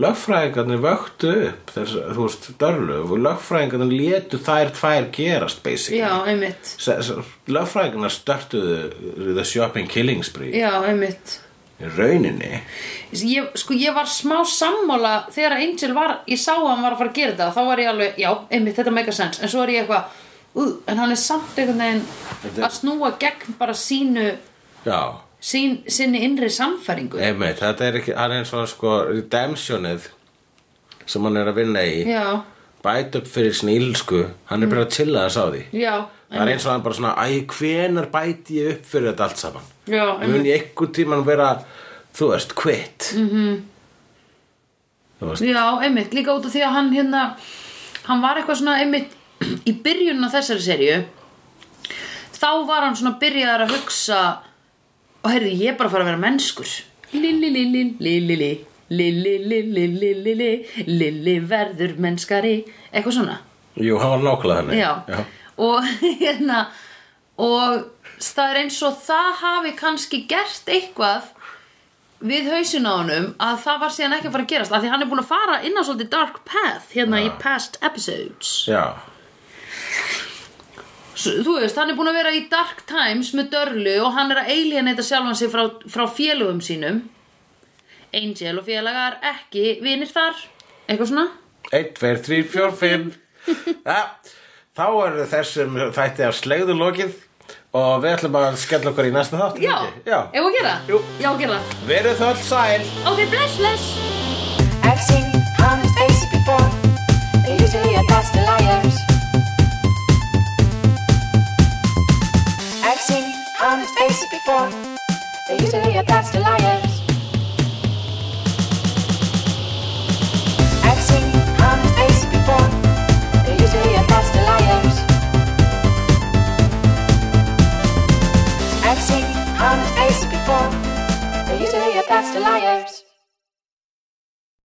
Speaker 3: lögfræðingarnir vöktu upp þess, þú veist, dörlu og lögfræðingarnir létu þær tvær gerast basically
Speaker 2: Já, einmitt
Speaker 3: S- s- lögfræðingarnar störtuðu the shopping killing spree
Speaker 2: Já, einmitt
Speaker 3: í rauninni
Speaker 2: ég, Sko, ég var smá sammála þegar Angel var, ég sá að hann var að fara að gera þetta þá var ég alveg, já, einmitt, þetta make a sense en svo er ég eitthvað, uh, en hann er samt einhvern
Speaker 3: Þetta
Speaker 2: veginn
Speaker 3: er-
Speaker 2: að snúa gegn bara sínu,
Speaker 3: já,
Speaker 2: sín, sinni innri samfæringu
Speaker 3: einmitt, þetta er ekki hann er eins og sko redemptionið sem hann er að vinna í
Speaker 2: Já, Mm.
Speaker 3: bæt upp fyrir sinni ílsku hann er bara að chilla þess á því
Speaker 2: já,
Speaker 3: það er eins og hann bara svona, æ, hvenar bæti ég upp fyrir þetta allt saman
Speaker 2: já,
Speaker 3: mun
Speaker 2: einmitt
Speaker 3: ég einhvern tímann vera þú veist, quit mm -hmm.
Speaker 2: Mhm.
Speaker 3: þú veist,
Speaker 2: Já, einmitt, líka út af því að hann hérna hann var eitthvað svona einmitt í byrjun á þessari serju þá var hann svona byrjaðar að hugsa og heyrðu, ég er bara að fara að vera mennskur Lillilillillillilli Lillilillillillilli Lilli verður mennskari eitthvað svona
Speaker 3: jú, hann var nákvæmlega þannig
Speaker 2: já. og hérna og það er eins og það hafi kannski gert eitthvað við hausin á honum að það var síðan ekki að fara að gerast af því hann er búin að fara inn á svolítið dark path hérna í past episodes
Speaker 3: já,
Speaker 2: S- þú veist, hann er búin að vera í dark times með dörlu og hann er að alienata sjálfan sig frá, frá félögum sínum Angel og félagar ekki vinir þar eitthvað svona
Speaker 3: 1, 2, 3, 4, 5 ja. þá eru þessum þætti af slegðu lokið og við ætlum að skella okkur í næsta þátt
Speaker 2: já,
Speaker 3: ekki? já.
Speaker 2: eigum við að gera?
Speaker 3: Jú.
Speaker 2: já, að gera það.
Speaker 3: verið það alls sæl
Speaker 2: ok, bless, bless
Speaker 5: I've seen honest faces before. They're usually a pass to liars. I've seen honest faces before. They're usually a pass to liars.